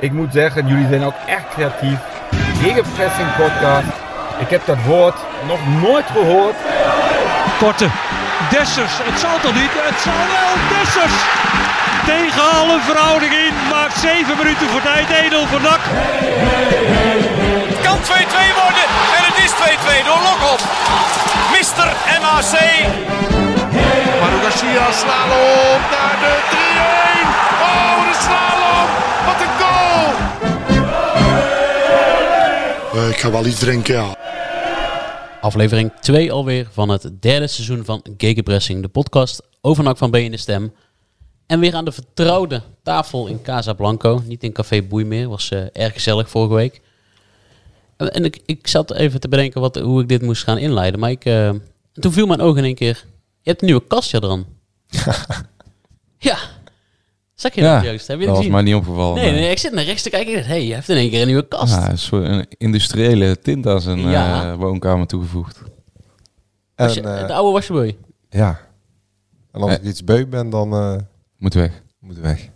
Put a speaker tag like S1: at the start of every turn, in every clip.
S1: Ik moet zeggen, jullie zijn ook echt creatief. Gegenpressing podcast. Ik heb dat woord nog nooit gehoord.
S2: Korte. Dessers. Het zal toch niet? Het zal wel. Dessers. Tegen alle verhouding in. Maakt 7 minuten voor tijd. 1-0 voor NAC.
S3: Het kan 2-2 worden en het is 2-2 door Lokop. Mister MAC.
S4: Maru Garcia, slalom naar de 3-1. Oh, de slalom. Wat een goal.
S5: Eh, ik ga wel iets drinken, ja.
S6: Aflevering 2 alweer van het derde seizoen van Gegenpressing, de podcast over NAC van B in de Stem. En weer aan de vertrouwde tafel in Casablanco, niet in Café Boei meer, was eh, erg gezellig vorige week. Eh, En, en ik, ik zat even te bedenken wat, hoe ik dit moest gaan inleiden, maar ik, eh, en toen viel mijn oog in één keer, je hebt een nieuwe kastje eraan. ja, zag je
S7: Ja,
S6: dat juist? Heb je
S7: dat
S6: dat
S7: was
S6: gezien?
S7: mij niet opgevallen.
S6: nee, nee, ik zit naar rechts te kijken en ik dacht, hey, je hebt in één keer een nieuwe kast.
S7: Ja, een soort een industriële tint aan zijn
S6: Ja.
S7: eh, woonkamer toegevoegd.
S6: Was je-
S8: En, eh,
S6: de oude was je bij.
S8: ja. En als
S7: Eh.
S8: ik iets beu ben, dan eh,
S7: Moet weg.
S8: moet ik weg.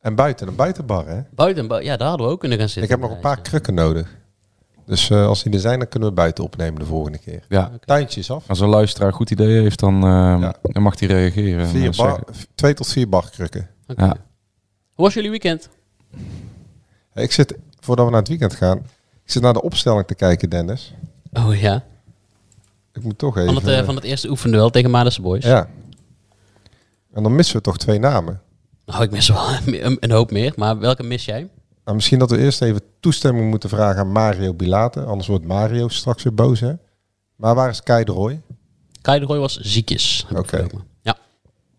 S8: En buiten, een buitenbar, hè?
S6: Buiten, bui- ja, daar hadden we ook kunnen gaan zitten.
S8: Ik heb nog een paar krukken nodig. Dus eh, als die er zijn, dan kunnen we buiten opnemen de volgende keer.
S7: Ja.
S8: Tuintjes af.
S7: Als een luisteraar goed idee heeft, dan, eh,
S8: Ja.
S7: dan mag hij reageren. en
S8: Vier
S7: dan
S8: bar,
S7: zeggen-
S8: v- twee tot vier barkrukken.
S6: Oké.
S7: Ja.
S6: Hoe was jullie weekend?
S8: Hey, Ik zit, voordat we naar het weekend gaan, ik zit naar de opstelling te kijken, Dennis.
S6: Oh ja.
S8: Ik moet toch even...
S6: Van het, eh, van het eerste oefenduel tegen Madense Boys.
S8: ja. En dan missen we toch twee namen.
S6: Nou, ik mis wel een, een hoop meer. Maar welke mis jij?
S8: Nou, misschien dat we eerst even toestemming moeten vragen aan Mario Bilate. Anders wordt Mario straks weer boos, hè? Maar waar is Kai de Roy?
S6: Kai de Roy was ziekjes. heb ik
S8: Oké.
S6: vernomen. Ja.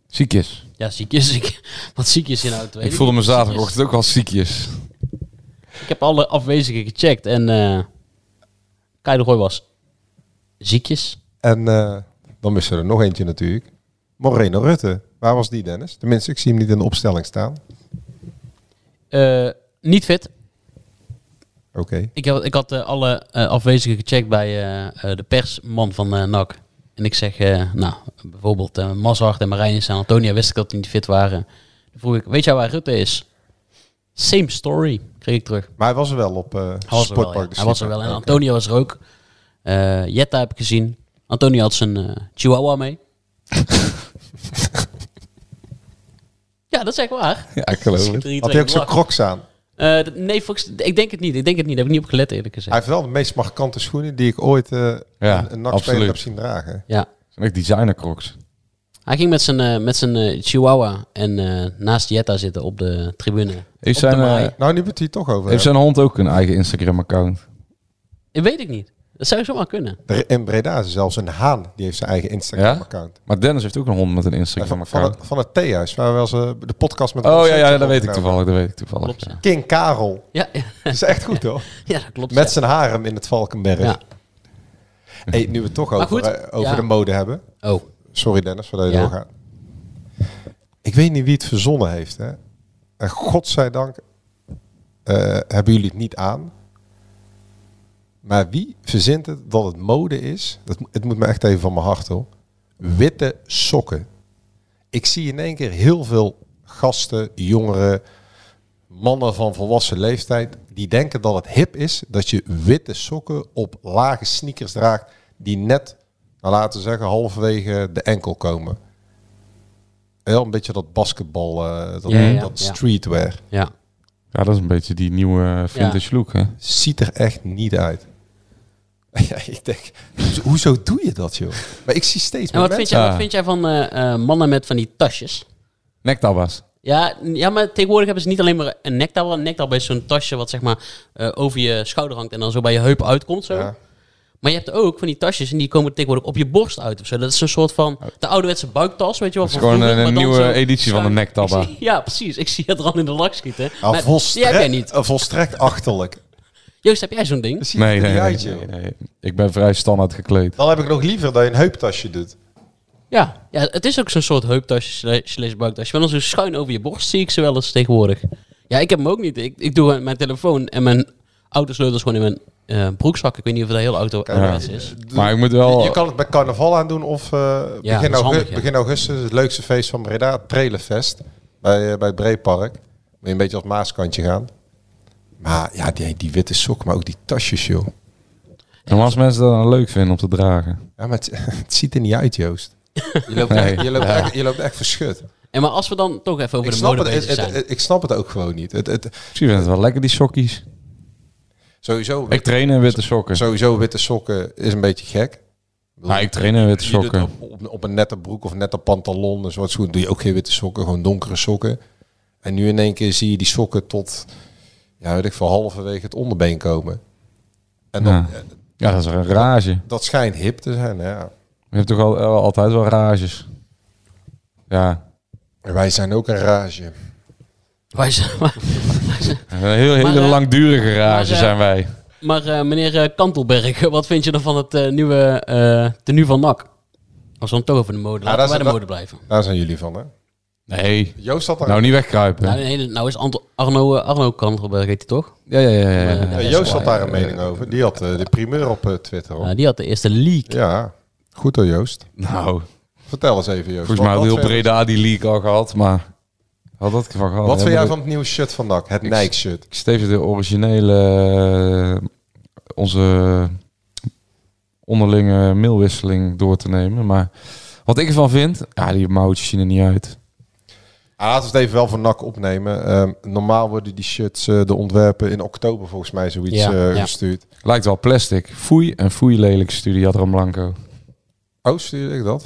S7: Ziekjes.
S6: Ja, ziekjes. Ik, wat ziekjes in auto.
S7: Ik voelde me zaterdagochtend ook wel ziekjes.
S6: Ik heb alle afwezigen gecheckt en eh Kai de Roy was ziekjes.
S8: En eh, dan missen we er nog eentje natuurlijk. Moreno Rutte. Waar was die, Dennis? Tenminste, ik zie hem niet in de opstelling staan.
S6: Eh, niet fit.
S8: Oké.
S6: Ik, heb, ik had eh, alle eh, afwezigen gecheckt bij eh, eh, de persman van eh NAC. En ik zeg, eh, nou, bijvoorbeeld eh Mazart en Marijn en San Antonia wist ik dat die niet fit waren. Toen vroeg ik, weet jij waar Rutte is? Same story, kreeg ik terug.
S8: Maar hij was er wel op eh
S6: Hij was er
S8: Sportpark.
S6: wel, ja.
S8: de
S6: Hij was er
S8: Schipper.
S6: wel. En
S8: Oké.
S6: Antonio was er ook. Eh, Jetta heb ik gezien. Antonio had zijn eh, chihuahua mee. ja, dat is echt waar.
S7: Ja, ik geloof
S6: Schiet
S7: het.
S6: er iets
S8: Had
S6: in
S8: hij ook
S6: de
S8: zo'n
S6: lach.
S8: crocs aan?
S6: Eh, dat- nee, volgens, ik denk het niet. Ik denk het niet. Daar heb ik niet op gelet eerlijk
S8: Hij
S6: gezegd.
S8: heeft wel de meest markante schoenen die ik ooit eh,
S7: Ja,
S8: een, een nachtspeler
S7: absoluut.
S8: heb zien dragen.
S6: Ja.
S7: Zijn echt designer crocs.
S6: Hij ging met zijn, eh, met zijn eh, chihuahua en eh, naast Jetta zitten op de tribune.
S7: Heeft
S6: Op de
S7: zijn, eh,
S6: baai.
S8: Nou, nu we het hier toch over.
S7: Heeft
S8: hebben.
S7: zijn hond ook een eigen Instagram account?
S6: Ik weet het niet. Dat zou zomaar kunnen.
S8: Er- In Breda is er zelfs een haan. Die heeft zijn eigen Instagram-account.
S7: Maar Dennis heeft ook een hond met een
S8: En
S7: Instagram
S8: Van, van het,
S7: account.
S8: van het theehuis, waar we als, eh, de podcast met...
S7: Oh
S8: Hans
S7: ja, ja,
S8: Steentje
S7: dat weet ik
S8: opgenomen.
S7: toevallig. Dat weet ik toevallig.
S6: Klopt,
S7: ja.
S6: ja.
S8: King Karel.
S6: Ja, ja,
S8: Dat is echt goed, hoor.
S6: dat klopt.
S8: Met
S6: ja.
S8: zijn harem in het Valkenberg.
S6: Ja.
S8: Hey, nu we het toch
S6: Maar
S8: over,
S6: goed,
S8: eh, over
S6: ja.
S8: de mode hebben.
S6: Oh,
S8: Sorry Dennis, voordat je
S6: Ja.
S8: doorgaat. Ik weet niet wie het verzonnen heeft. Hè? En godzijdank eh, hebben jullie het niet aan. Maar wie verzint het dat het mode is? Dat, mo- het moet me echt even van mijn hart hoor. Witte sokken. Ik zie in één keer heel veel gasten, jongeren, mannen van volwassen leeftijd... die denken dat het hip is dat je witte sokken op lage sneakers draagt... die net nou, laten we zeggen, halverwege de enkel komen. Wel een beetje dat basketbal, eh, dat,
S6: Ja, ja,
S8: dat
S6: ja.
S8: streetwear.
S6: ja.
S7: Ja, dat is een beetje die nieuwe eh, vintage look, hè?
S8: Ziet er echt niet uit. Ja, ik denk, hoezo, hoezo doe je dat, joh? Maar ik zie steeds
S6: En
S8: meer
S6: wat
S8: mensen...
S6: vind, jij, wat
S7: Ah.
S6: vind jij van eh, eh, mannen met van die tasjes?
S7: Nektabas.
S6: Ja, n- ja, maar tegenwoordig hebben ze niet alleen maar een nektaal. Een nektaal is zo'n tasje wat zeg maar eh, over je schouder hangt en dan zo bij je heup uitkomt. Zo.
S8: Ja.
S6: Maar je hebt ook van die tasjes en die komen tegenwoordig op je borst uit of zo. Dat is een soort van de ouderwetse buiktas, weet je wel.
S7: Dat is
S6: van
S7: gewoon
S6: vroeger,
S7: een
S6: maar dan
S7: nieuwe
S6: zo
S7: editie van de
S6: schuin.
S7: nektabba.
S6: Ik zie- Ja, precies. Ik zie het er al in de lak schieten.
S8: Ah,
S6: Maar die
S8: volstrekt,
S6: heb jij niet.
S8: ah, volstrekt achterlijk.
S6: Joost, heb jij zo'n ding?
S8: Dat ziet
S7: Nee,
S8: er
S7: nee,
S8: niet
S7: nee,
S8: uit, joh.
S7: nee, nee. Ik ben vrij standaard gekleed.
S8: Dan heb ik nog liever dat je een heuptasje doet.
S6: Ja. ja, het is ook zo'n soort heuptasje sla- slash buiktasje. Maar dan zo schuin over je borst zie ik ze wel eens tegenwoordig. Ja, ik heb hem ook niet. Ik, ik doe gewoon mijn telefoon en mijn autosleutels gewoon in mijn eh, broekzak. Ik weet niet of dat heel auto ouderwets is.
S7: Maar ik moet wel...
S8: Je kan het bij carnaval aandoen of eh, begin,
S6: dat is
S8: augu-
S6: handig, ja.
S8: begin augustus, het leukste feest van Breda, Trelenfest bij, eh, bij Breepark. Moet je een beetje als Maaskantje gaan. Maar ja, die, die witte sok, maar ook die tasjes, joh.
S7: En als mensen dat dan leuk vinden om te dragen.
S8: Ja, maar het, het ziet er niet uit, Joost. Je loopt,
S7: Nee.
S8: echt, je loopt, echt, je loopt echt verschut.
S6: En maar als we dan toch even over
S8: Ik
S6: de
S8: snap,
S6: mode
S8: het, het-
S6: bezig
S8: het-
S6: zijn.
S8: het- ik snap het ook gewoon niet. Het, het,
S7: Misschien vinden het wel lekker, die sokkies.
S8: sowieso,
S7: Ik train in witte sokken.
S8: sowieso witte sokken is een beetje gek.
S7: Nou, ik train in witte
S8: Je doet
S7: sokken.
S8: Op, op, op een nette broek of nette pantalon, een soort schoen, doe je ook geen witte sokken, gewoon donkere sokken. En nu in één keer zie je die sokken tot, ja, weet ik veel, halverwege het onderbeen komen. En dan,
S7: Ja.
S8: eh,
S7: Ja, dat is een rage.
S8: dat schijnt hip te zijn, ja.
S7: Je hebt toch al, eh, altijd wel rages. Ja,
S8: En Wij zijn ook een rage.
S6: Wij zijn- maar
S7: een heel, hele
S6: Maar, eh,
S7: langdurige rage
S6: maar, eh,
S7: zijn wij.
S6: maar eh, meneer eh, Kantelberg, wat vind je dan van het eh, nieuwe eh tenue van NAC? Als we dan toch over de mode, laten
S8: dat
S6: we bij
S8: is-
S6: de
S8: dat-
S6: mode blijven.
S8: Daar zijn jullie van, hè?
S7: Nee,
S8: Joost had daar...
S7: nou niet wegkruipen.
S6: Nou, nee, nou is Anto- Arno, eh, Arno Kantelberg, heet hij toch?
S7: Ja, ja, ja. ja, ja.
S8: Ja, eh,
S6: eh,
S8: Joost had daar een mening over. Die had eh, de primeur op eh, Twitter. Hoor.
S6: Nou, die had de eerste leak.
S8: Ja, goed hoor Joost.
S7: Nou,
S8: Vertel eens even Joost.
S7: volgens mij
S8: Wat-
S7: had
S8: wat
S7: heel
S8: vind-
S7: Breda die leak al gehad, maar... Had dat van gehad.
S8: Wat
S7: Ja,
S8: vind
S7: maar
S8: jij
S7: de-
S8: van het nieuwe shirt van NAC? Het
S7: Ik-
S8: Nike shirt.
S7: Steven, de originele... eh, Onze onderlinge mailwisseling door te nemen. Maar wat ik ervan vind... Ja, die mouwtjes zien er niet uit.
S8: Ah, laten we het even wel voor NAC opnemen. Ehm, normaal worden die shirts, eh, de ontwerpen, in oktober volgens mij zoiets
S6: Ja,
S8: eh,
S6: ja.
S8: gestuurd.
S7: Lijkt wel plastic. Foei en foei lelijk studie had Ron Blanco.
S8: Oh, stuurde ik dat?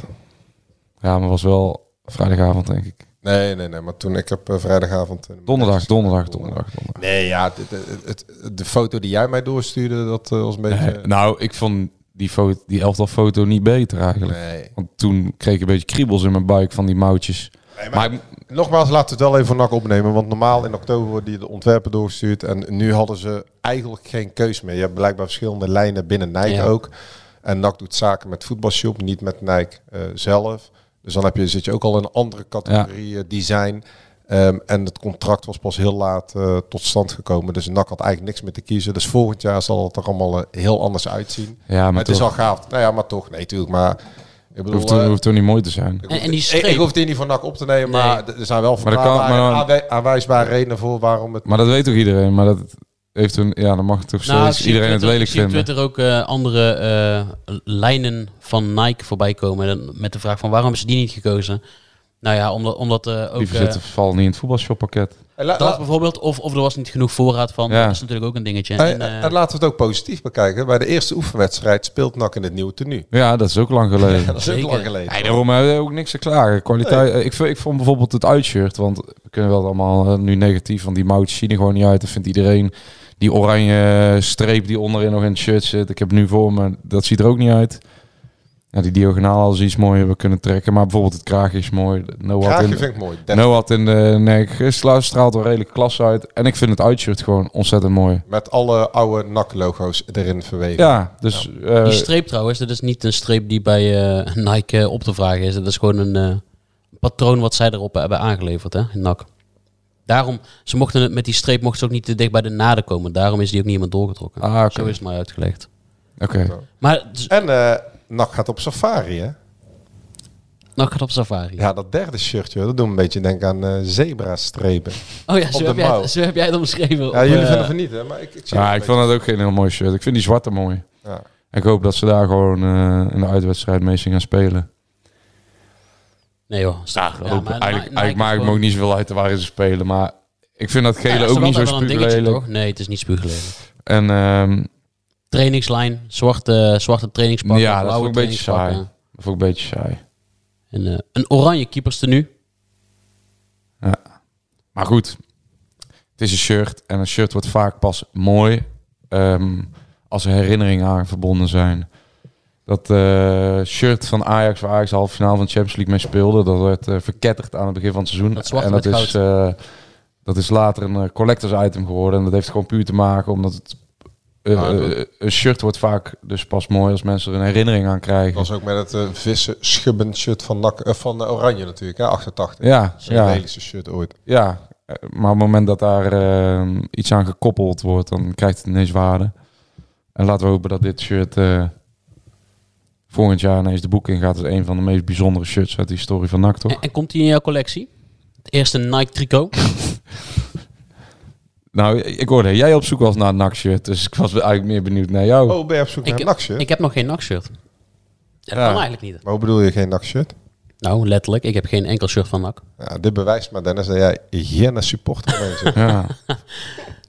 S7: Ja, maar was wel vrijdagavond, denk ik.
S8: Nee, nee, nee. Maar toen ik heb eh, vrijdagavond... eh,
S7: Donderdag, donderdag, donderdag. donderdag.
S8: Nee, ja, het- het- het- de foto die jij mij doorstuurde, dat eh, was een beetje...
S7: Nee, nou, ik vond die, foto, die elftal foto niet beter eigenlijk.
S8: nee.
S7: Want toen kreeg ik een beetje kriebels in mijn buik van die mouwtjes. maar
S8: Nogmaals, laten we het wel even voor NAC opnemen. Want normaal in oktober worden die de ontwerpen doorgestuurd. En nu hadden ze eigenlijk geen keus meer. Je hebt blijkbaar verschillende lijnen binnen Nike
S6: Ja.
S8: ook. En NAC doet zaken met voetbalshop, niet met Nike eh, zelf. Dus dan heb je, zit je ook al in een andere categorie eh, design. Ehm, en het contract was pas heel laat eh, tot stand gekomen. Dus NAC had eigenlijk niks meer te kiezen. Dus volgend jaar zal het er allemaal eh, heel anders uitzien.
S7: ja, maar
S8: het is
S7: toch,
S8: al gaaf. Nou ja, maar toch. Nee, tuurlijk. Maar ik bedoel...
S7: hoeft, toch-
S8: eh,
S7: hoeft toch niet mooi te zijn.
S6: En, en die
S8: ik, ik
S6: streep.
S8: hoef die niet van NAC op te nemen,
S6: Nee.
S8: maar d- er zijn wel
S7: Maar dat kan-
S8: verklaarbare,
S7: maar dan-
S8: aanwij- aanwijsbare redenen voor waarom het...
S7: Maar dat weet toch iedereen? Maar dat heeft toen, ja, dan mag toch
S6: Nou, ik
S7: zoiets
S6: zie
S7: iedereen
S6: op
S7: het
S6: Twitter-
S7: lelijk vinden.
S6: Ik zie op Twitter ook eh, andere eh, lijnen van Nike voorbij komen. En dan met de vraag van waarom hebben ze die niet gekozen? Nou ja, omdat, omdat eh, ook...
S7: Liever
S6: eh,
S7: zitten val niet in het voetbalshoppakket.
S8: En, la-
S6: dat
S8: la-
S6: bijvoorbeeld, of, of er was niet genoeg voorraad van.
S7: Ja.
S6: Dat is natuurlijk ook een dingetje. En,
S8: en-
S6: eh,
S8: en laten we het ook positief bekijken. Bij de eerste oefenwedstrijd speelt NAC in het nieuwe tenue.
S7: Ja, dat is ook lang geleden.
S8: Dat is ook
S6: Zeker.
S8: lang geleden.
S7: Nee, daarom hebben we ook niks te klagen. Kwaliteit, eh, ik, vind- ik vond bijvoorbeeld het uitshirt, want we kunnen wel allemaal eh, nu negatief, want die mouwtjes zien er gewoon niet uit. Dat vindt iedereen. Die oranje streep die onderin nog in het shirt zit, ik heb het nu voor me, dat ziet er ook niet uit. Ja, die diagonaal als iets mooier hebben kunnen trekken, maar bijvoorbeeld het kraagje is mooi. Noah
S8: Graagje
S7: in,
S8: vind ik mooi. Dat-
S7: Noah had in de nek geslaagd, straalt wel redelijk klas uit. En ik vind het uitshirt gewoon ontzettend mooi.
S8: Met alle oude NAC-logo's erin verweven.
S7: Ja, dus eh,
S6: die streep trouwens, dat is niet een streep die bij eh, Nike eh, op te vragen is. Dat is gewoon een eh, patroon wat zij erop hebben aangeleverd, hè, in NAC. Daarom, ze mochten het, met die streep mochten ze ook niet te dicht bij de naden komen. Daarom is die ook niet helemaal doorgetrokken.
S7: Ah, oké.
S6: Zo is het maar uitgelegd.
S7: oké.
S6: Maar dus,
S8: En eh NAC gaat op safari, hè?
S6: NAC gaat op safari.
S8: Ja, dat derde shirtje, dat doet me een beetje denken aan eh zebra-strepen.
S6: Oh ja,
S8: de
S6: zo heb, jij,
S8: mouw.
S6: het- zo heb jij het omschreven. op,
S8: Ja, jullie
S6: eh,
S8: vinden van niet, hè? Maar ik, ik zie
S7: Ja,
S8: het
S7: ik
S8: een
S7: vond dat ook geen heel mooi shirt. Ik vind die zwarte mooi.
S8: beetje. Ja.
S7: Ik hoop dat ze daar gewoon eh, in de uitwedstrijd mee zien gaan spelen.
S6: Nee joh, staat.
S7: Dat hoop- eigenlijk eigenlijk maakt het me ook niet zoveel uit waarin ze spelen. Maar ik vind dat gele ook niet zo spuuglelijk.
S6: toch? Nee, het is niet spuuglelijk.
S7: En ehm,
S6: Trainingslijn, zwarte, zwarte trainingspakken,
S7: ja, dat
S6: blauwe
S7: vond ik een beetje saai.
S6: trainingspakken.
S7: Dat vond ik een beetje saai.
S6: En, eh, een oranje keeperstenu.
S7: Maar goed, het is een shirt. En een shirt wordt vaak pas mooi ehm, als er herinneringen aan verbonden zijn. Dat eh, shirt van Ajax, waar Ajax de halve finale van de Champions League mee speelde, dat werd eh, verketterd aan het begin van het seizoen.
S6: Dat zwarte
S7: en dat
S6: met
S7: is, eh, dat is later een eh, collectors item geworden. En dat heeft gewoon puur te maken omdat het, eh,
S8: Ah, dat-
S7: eh, een shirt wordt vaak dus pas mooi als mensen er een herinnering aan krijgen.
S8: Dat was ook met het eh, vissen schubben shirt van, NAC, eh, van eh, Oranje natuurlijk, hè? 88.
S7: Ja,
S8: Het
S7: ja,
S8: lelijkste shirt ooit.
S7: ja. Eh, Maar op het moment dat daar eh, iets aan gekoppeld wordt, dan krijgt het ineens waarde. En laten we hopen dat dit shirt eh, volgend jaar ineens de boek in gaat. Dat is een van de meest bijzondere Eh, Oh. shirts uit de historie van NAC, toch?
S6: En, en komt die in jouw collectie? Het eerste Nike tricot.
S7: Nou, ik hoorde dat jij op zoek was naar een nakshirt, dus ik was eigenlijk meer benieuwd naar jou.
S8: Oh, ben je op zoek naar
S6: Ik,
S8: een nakshirt?
S6: ik heb nog geen nachtshirt. Ja, dat
S7: Ja.
S6: kan eigenlijk niet.
S8: Maar hoe bedoel je geen nakshirt?
S6: Nou, letterlijk. Ik heb geen enkel shirt van NAC.
S8: Ja, dit bewijst maar, Dennis, dat jij geen supporter bent.
S7: Ja.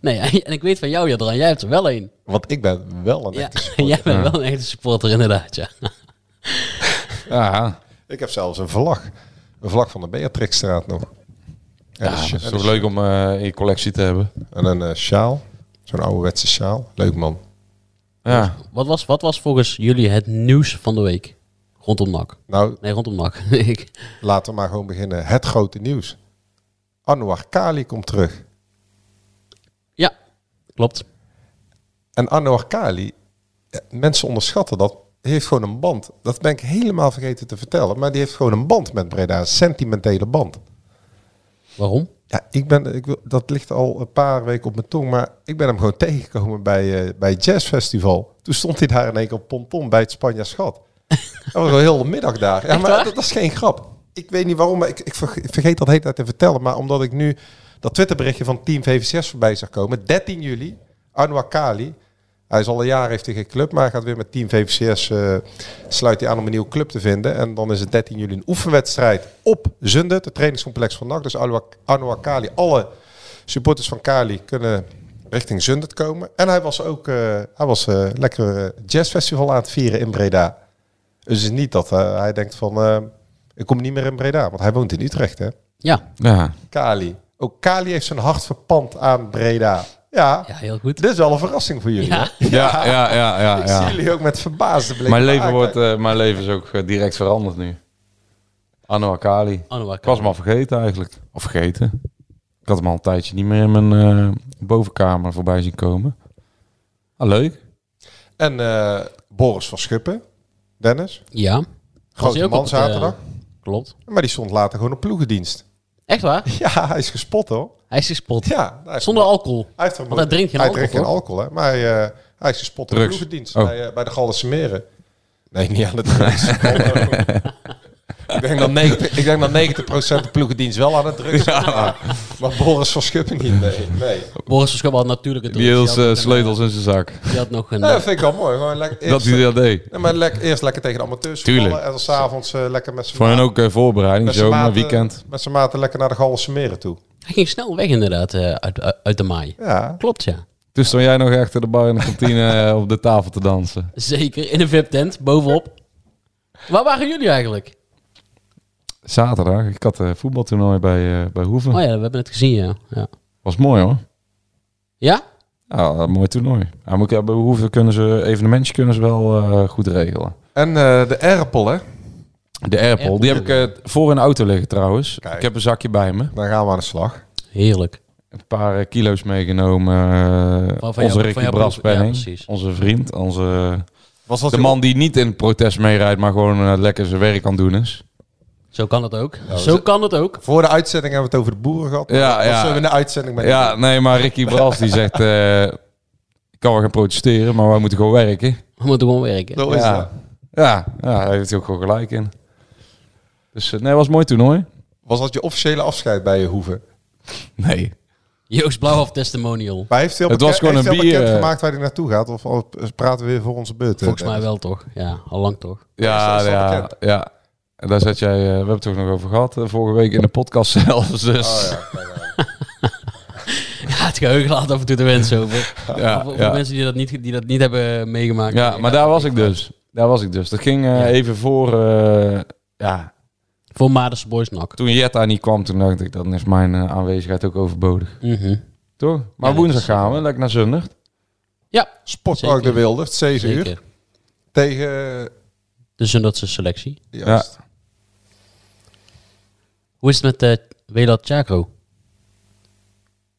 S6: Nee, en ik weet van jou, Jadran. Jij hebt er wel een.
S8: Want ik ben wel een
S6: Ja,
S8: echte supporter.
S6: jij bent wel een echte supporter inderdaad, ja.
S7: ja,
S8: Ik heb zelfs een vlag. Een vlag van de Beatrixstraat nog. En,
S7: ja
S8: een,
S7: dat
S8: sj-
S7: is
S8: en, een
S7: toch leuk om eh, in je collectie te hebben.
S8: sj- en een eh, sjaal. Zo'n ouderwetse sjaal. Leuk man.
S7: Ja,
S6: Wat was, wat was volgens jullie het nieuws van de week? Rondom NAC.
S8: Nou,
S6: Nee, rondom NAC. ik,
S8: laten we maar gewoon beginnen. Het grote nieuws. Anwar Kali komt terug.
S6: ja, klopt.
S8: En Anwar Kali, ja, mensen onderschatten dat, heeft gewoon een band. Dat ben ik helemaal vergeten te vertellen. Maar die heeft gewoon een band met Breda. Een sentimentele band.
S6: Waarom?
S8: Ja, ik ben, ik, wil- dat ligt al een paar weken op mijn tong, maar ik ben hem gewoon tegengekomen bij, eh, bij het jazzfestival. Toen stond hij daar in één keer op ponton bij het Spanja Schat. Dat was al heel de middag daar. Ja, maar dat, dat is geen grap. Ik weet niet waarom, maar ik, ik verge- ik vergeet dat de hele tijd te vertellen. Maar omdat ik nu dat Twitterberichtje van Team VVCS voorbij zag komen. 13 juli, Anwar Kali. Hij is al een jaar, heeft hij geen club, maar hij gaat weer met Team VVCS. eh, sluit hij aan om een nieuwe club te vinden. En dan is het 13 juli een oefenwedstrijd op Zunde, het trainingscomplex van NAC. Dus Anwar- Anwar Kali, alle supporters van Kali kunnen richting Zundert komen. En hij was ook eh, hij was, eh, lekker eh, jazzfestival aan het vieren in Breda. Dus het is niet dat eh, hij denkt van, eh, ik kom niet meer in Breda. Want hij woont in Utrecht, hè.
S6: Ja,
S7: ja.
S8: Kali. Ook Kali heeft zijn hart verpand aan Breda. Ja,
S6: ja heel goed.
S8: dit is wel een verrassing voor jullie,
S6: Ja. Oh,
S8: hè?
S7: Ja, ja, ja, ja.
S8: Ik zie jullie ook met verbaasde blikken.
S7: Mijn, leven
S8: aankijken.
S7: wordt, eh, mijn leven is ook eh, direct veranderd nu. Anwar Kali.
S6: Anouar
S7: Ik was hem al vergeten eigenlijk. Of vergeten. Ik had hem al een tijdje niet meer in mijn eh, bovenkamer voorbij zien komen. Ah, leuk.
S8: En eh, Boris van Schuppen, Dennis.
S6: Ja. Was
S8: Grote
S6: hij ook
S8: man
S6: op het, eh,
S8: zaterdag.
S6: klopt.
S8: Maar die stond later gewoon op ploegendienst.
S6: Echt waar?
S8: Ja, hij is gespot hoor.
S6: Hij is gespot.
S8: Ja, hij heeft-
S6: Zonder alcohol.
S8: Hij, heeft er-
S6: Want hij drinkt geen
S8: hij
S6: alcohol,
S8: drinkt geen
S6: toch?
S8: alcohol, hè? Maar hij, eh, hij is gespot op
S7: Drugs.
S8: ploegendienst
S7: Oh.
S8: bij, eh, bij de Gallische Meren. Nee, niet aan de drugs. Oh, ik, denk dat 90, ik denk dat 90% de ploegendienst wel aan het drugs is. Maar, maar Boris van Schuppen niet. Nee, nee.
S6: Boris van Schuppen had natuurlijk het
S7: Die hield eh,
S6: had,
S7: sleutels in zijn zak.
S6: een- die had nog een... eh,
S8: Nee, dat vind ik wel mooi. Gewoon lekker, eerst,
S7: Dat hij dat deed.
S8: nee, maar lek- eerst lekker tegen de amateurs
S7: Tuurlijk.
S8: voetballen En dan s'avonds eh lekker met z'n
S7: Voor hen
S8: maat-
S7: ook eh, voorbereiding,
S8: met z'n
S7: zomer,
S8: maten-
S7: weekend.
S8: Met z'n maten lekker naar de Gallische Meren toe.
S6: Hij ging snel weg inderdaad eh, uit, uit- uit de maai.
S8: Ja.
S6: Klopt, ja.
S7: Dus stond jij nog achter de bar in de kantine eh, op de tafel te dansen.
S6: Zeker. In een VIP-tent, bovenop. Waar waren jullie eigenlijk?
S7: Zaterdag, ik had een voetbaltoernooi bij, eh bij Hoeven.
S6: Oh ja, we hebben het gezien, ja. Ja?
S7: Was mooi hoor.
S6: ja?
S7: Ja, een mooi toernooi. Ja, moet ik hebben, hoeveel kunnen ze, evenementjes kunnen ze wel eh, goed regelen.
S8: En eh, de Erpel, hè?
S7: De Airpol, die heb ik eh, voor in de auto liggen trouwens.
S8: Kijk.
S7: Ik heb een zakje bij me.
S8: Daar gaan we aan de slag.
S6: Heerlijk.
S7: Een paar eh, kilo's meegenomen. eh,
S6: Van- van jou-
S7: onze
S6: van
S7: Ricky
S6: jou- ja,
S7: Braspenning,
S6: precies.
S7: onze vriend, onze,
S8: Was dat
S7: de man die niet in het protest meerijdt, maar gewoon eh, lekker zijn werk aan het doen is.
S6: Zo kan het ook.
S8: we
S6: Zo
S8: zijn-
S6: kan het ook.
S8: Voor de uitzending hebben we het over de boeren gehad.
S7: Ja,
S8: dat
S7: ja.
S8: zullen we in de uitzending met
S7: Ja, nee, maar Ricky Bras die zegt, eh, ik kan wel gaan protesteren, maar wij moeten gewoon werken.
S6: We moeten gewoon werken.
S8: Zo is
S7: ja.
S8: dat.
S7: Ja, ja, daar heeft hij ook gewoon gelijk in. Dus eh, nee, was een mooi toernooi.
S8: Was dat je officiële afscheid bij je hoeven?
S7: Nee,
S6: Joost Blauwhof testimonial.
S8: Maar heeft hij al
S7: Het was
S8: beken-
S7: gewoon
S8: heeft
S7: een
S8: hij al
S7: bier,
S8: bekend
S7: eh.
S8: gemaakt waar hij naartoe gaat? Of al- praten we weer voor onze beurt?
S6: Volgens
S8: Eh,
S6: mij wel toch? Ja, al lang toch?
S7: Ja,
S8: Is dat- is dat
S7: ja,
S8: bekend?
S7: ja. En daar zat jij, eh, we hebben het ook nog over gehad eh, vorige week in de podcast zelfs. Dus
S8: Oh, ja, ja, ja.
S6: Ja, het geheugen laat af en toe de wensen over.
S7: ja,
S6: Ja,
S7: ja,
S6: voor
S7: ja.
S6: mensen die dat, niet, die dat niet hebben meegemaakt.
S7: maar daar was ik dus. Daar was ik dus. Dat ging eh,
S6: Ja.
S7: even voor. eh, ja,
S6: Voor Maderse Boys NAC.
S7: toen Jetta niet kwam, toen dacht ik, dan is mijn eh, aanwezigheid ook overbodig.
S6: Mhm.
S7: Toch? Maar
S6: Ja,
S7: woensdag
S6: dat is-
S7: gaan we, lekker naar Zundert.
S6: Ja,
S8: Sportpark de
S6: Zeker.
S8: Wildert, 7 uur.
S6: zeker.
S8: Tegen... eh,
S6: De Zundertse selectie.
S8: Juist.
S6: Hoe is het met eh Welat Chakro?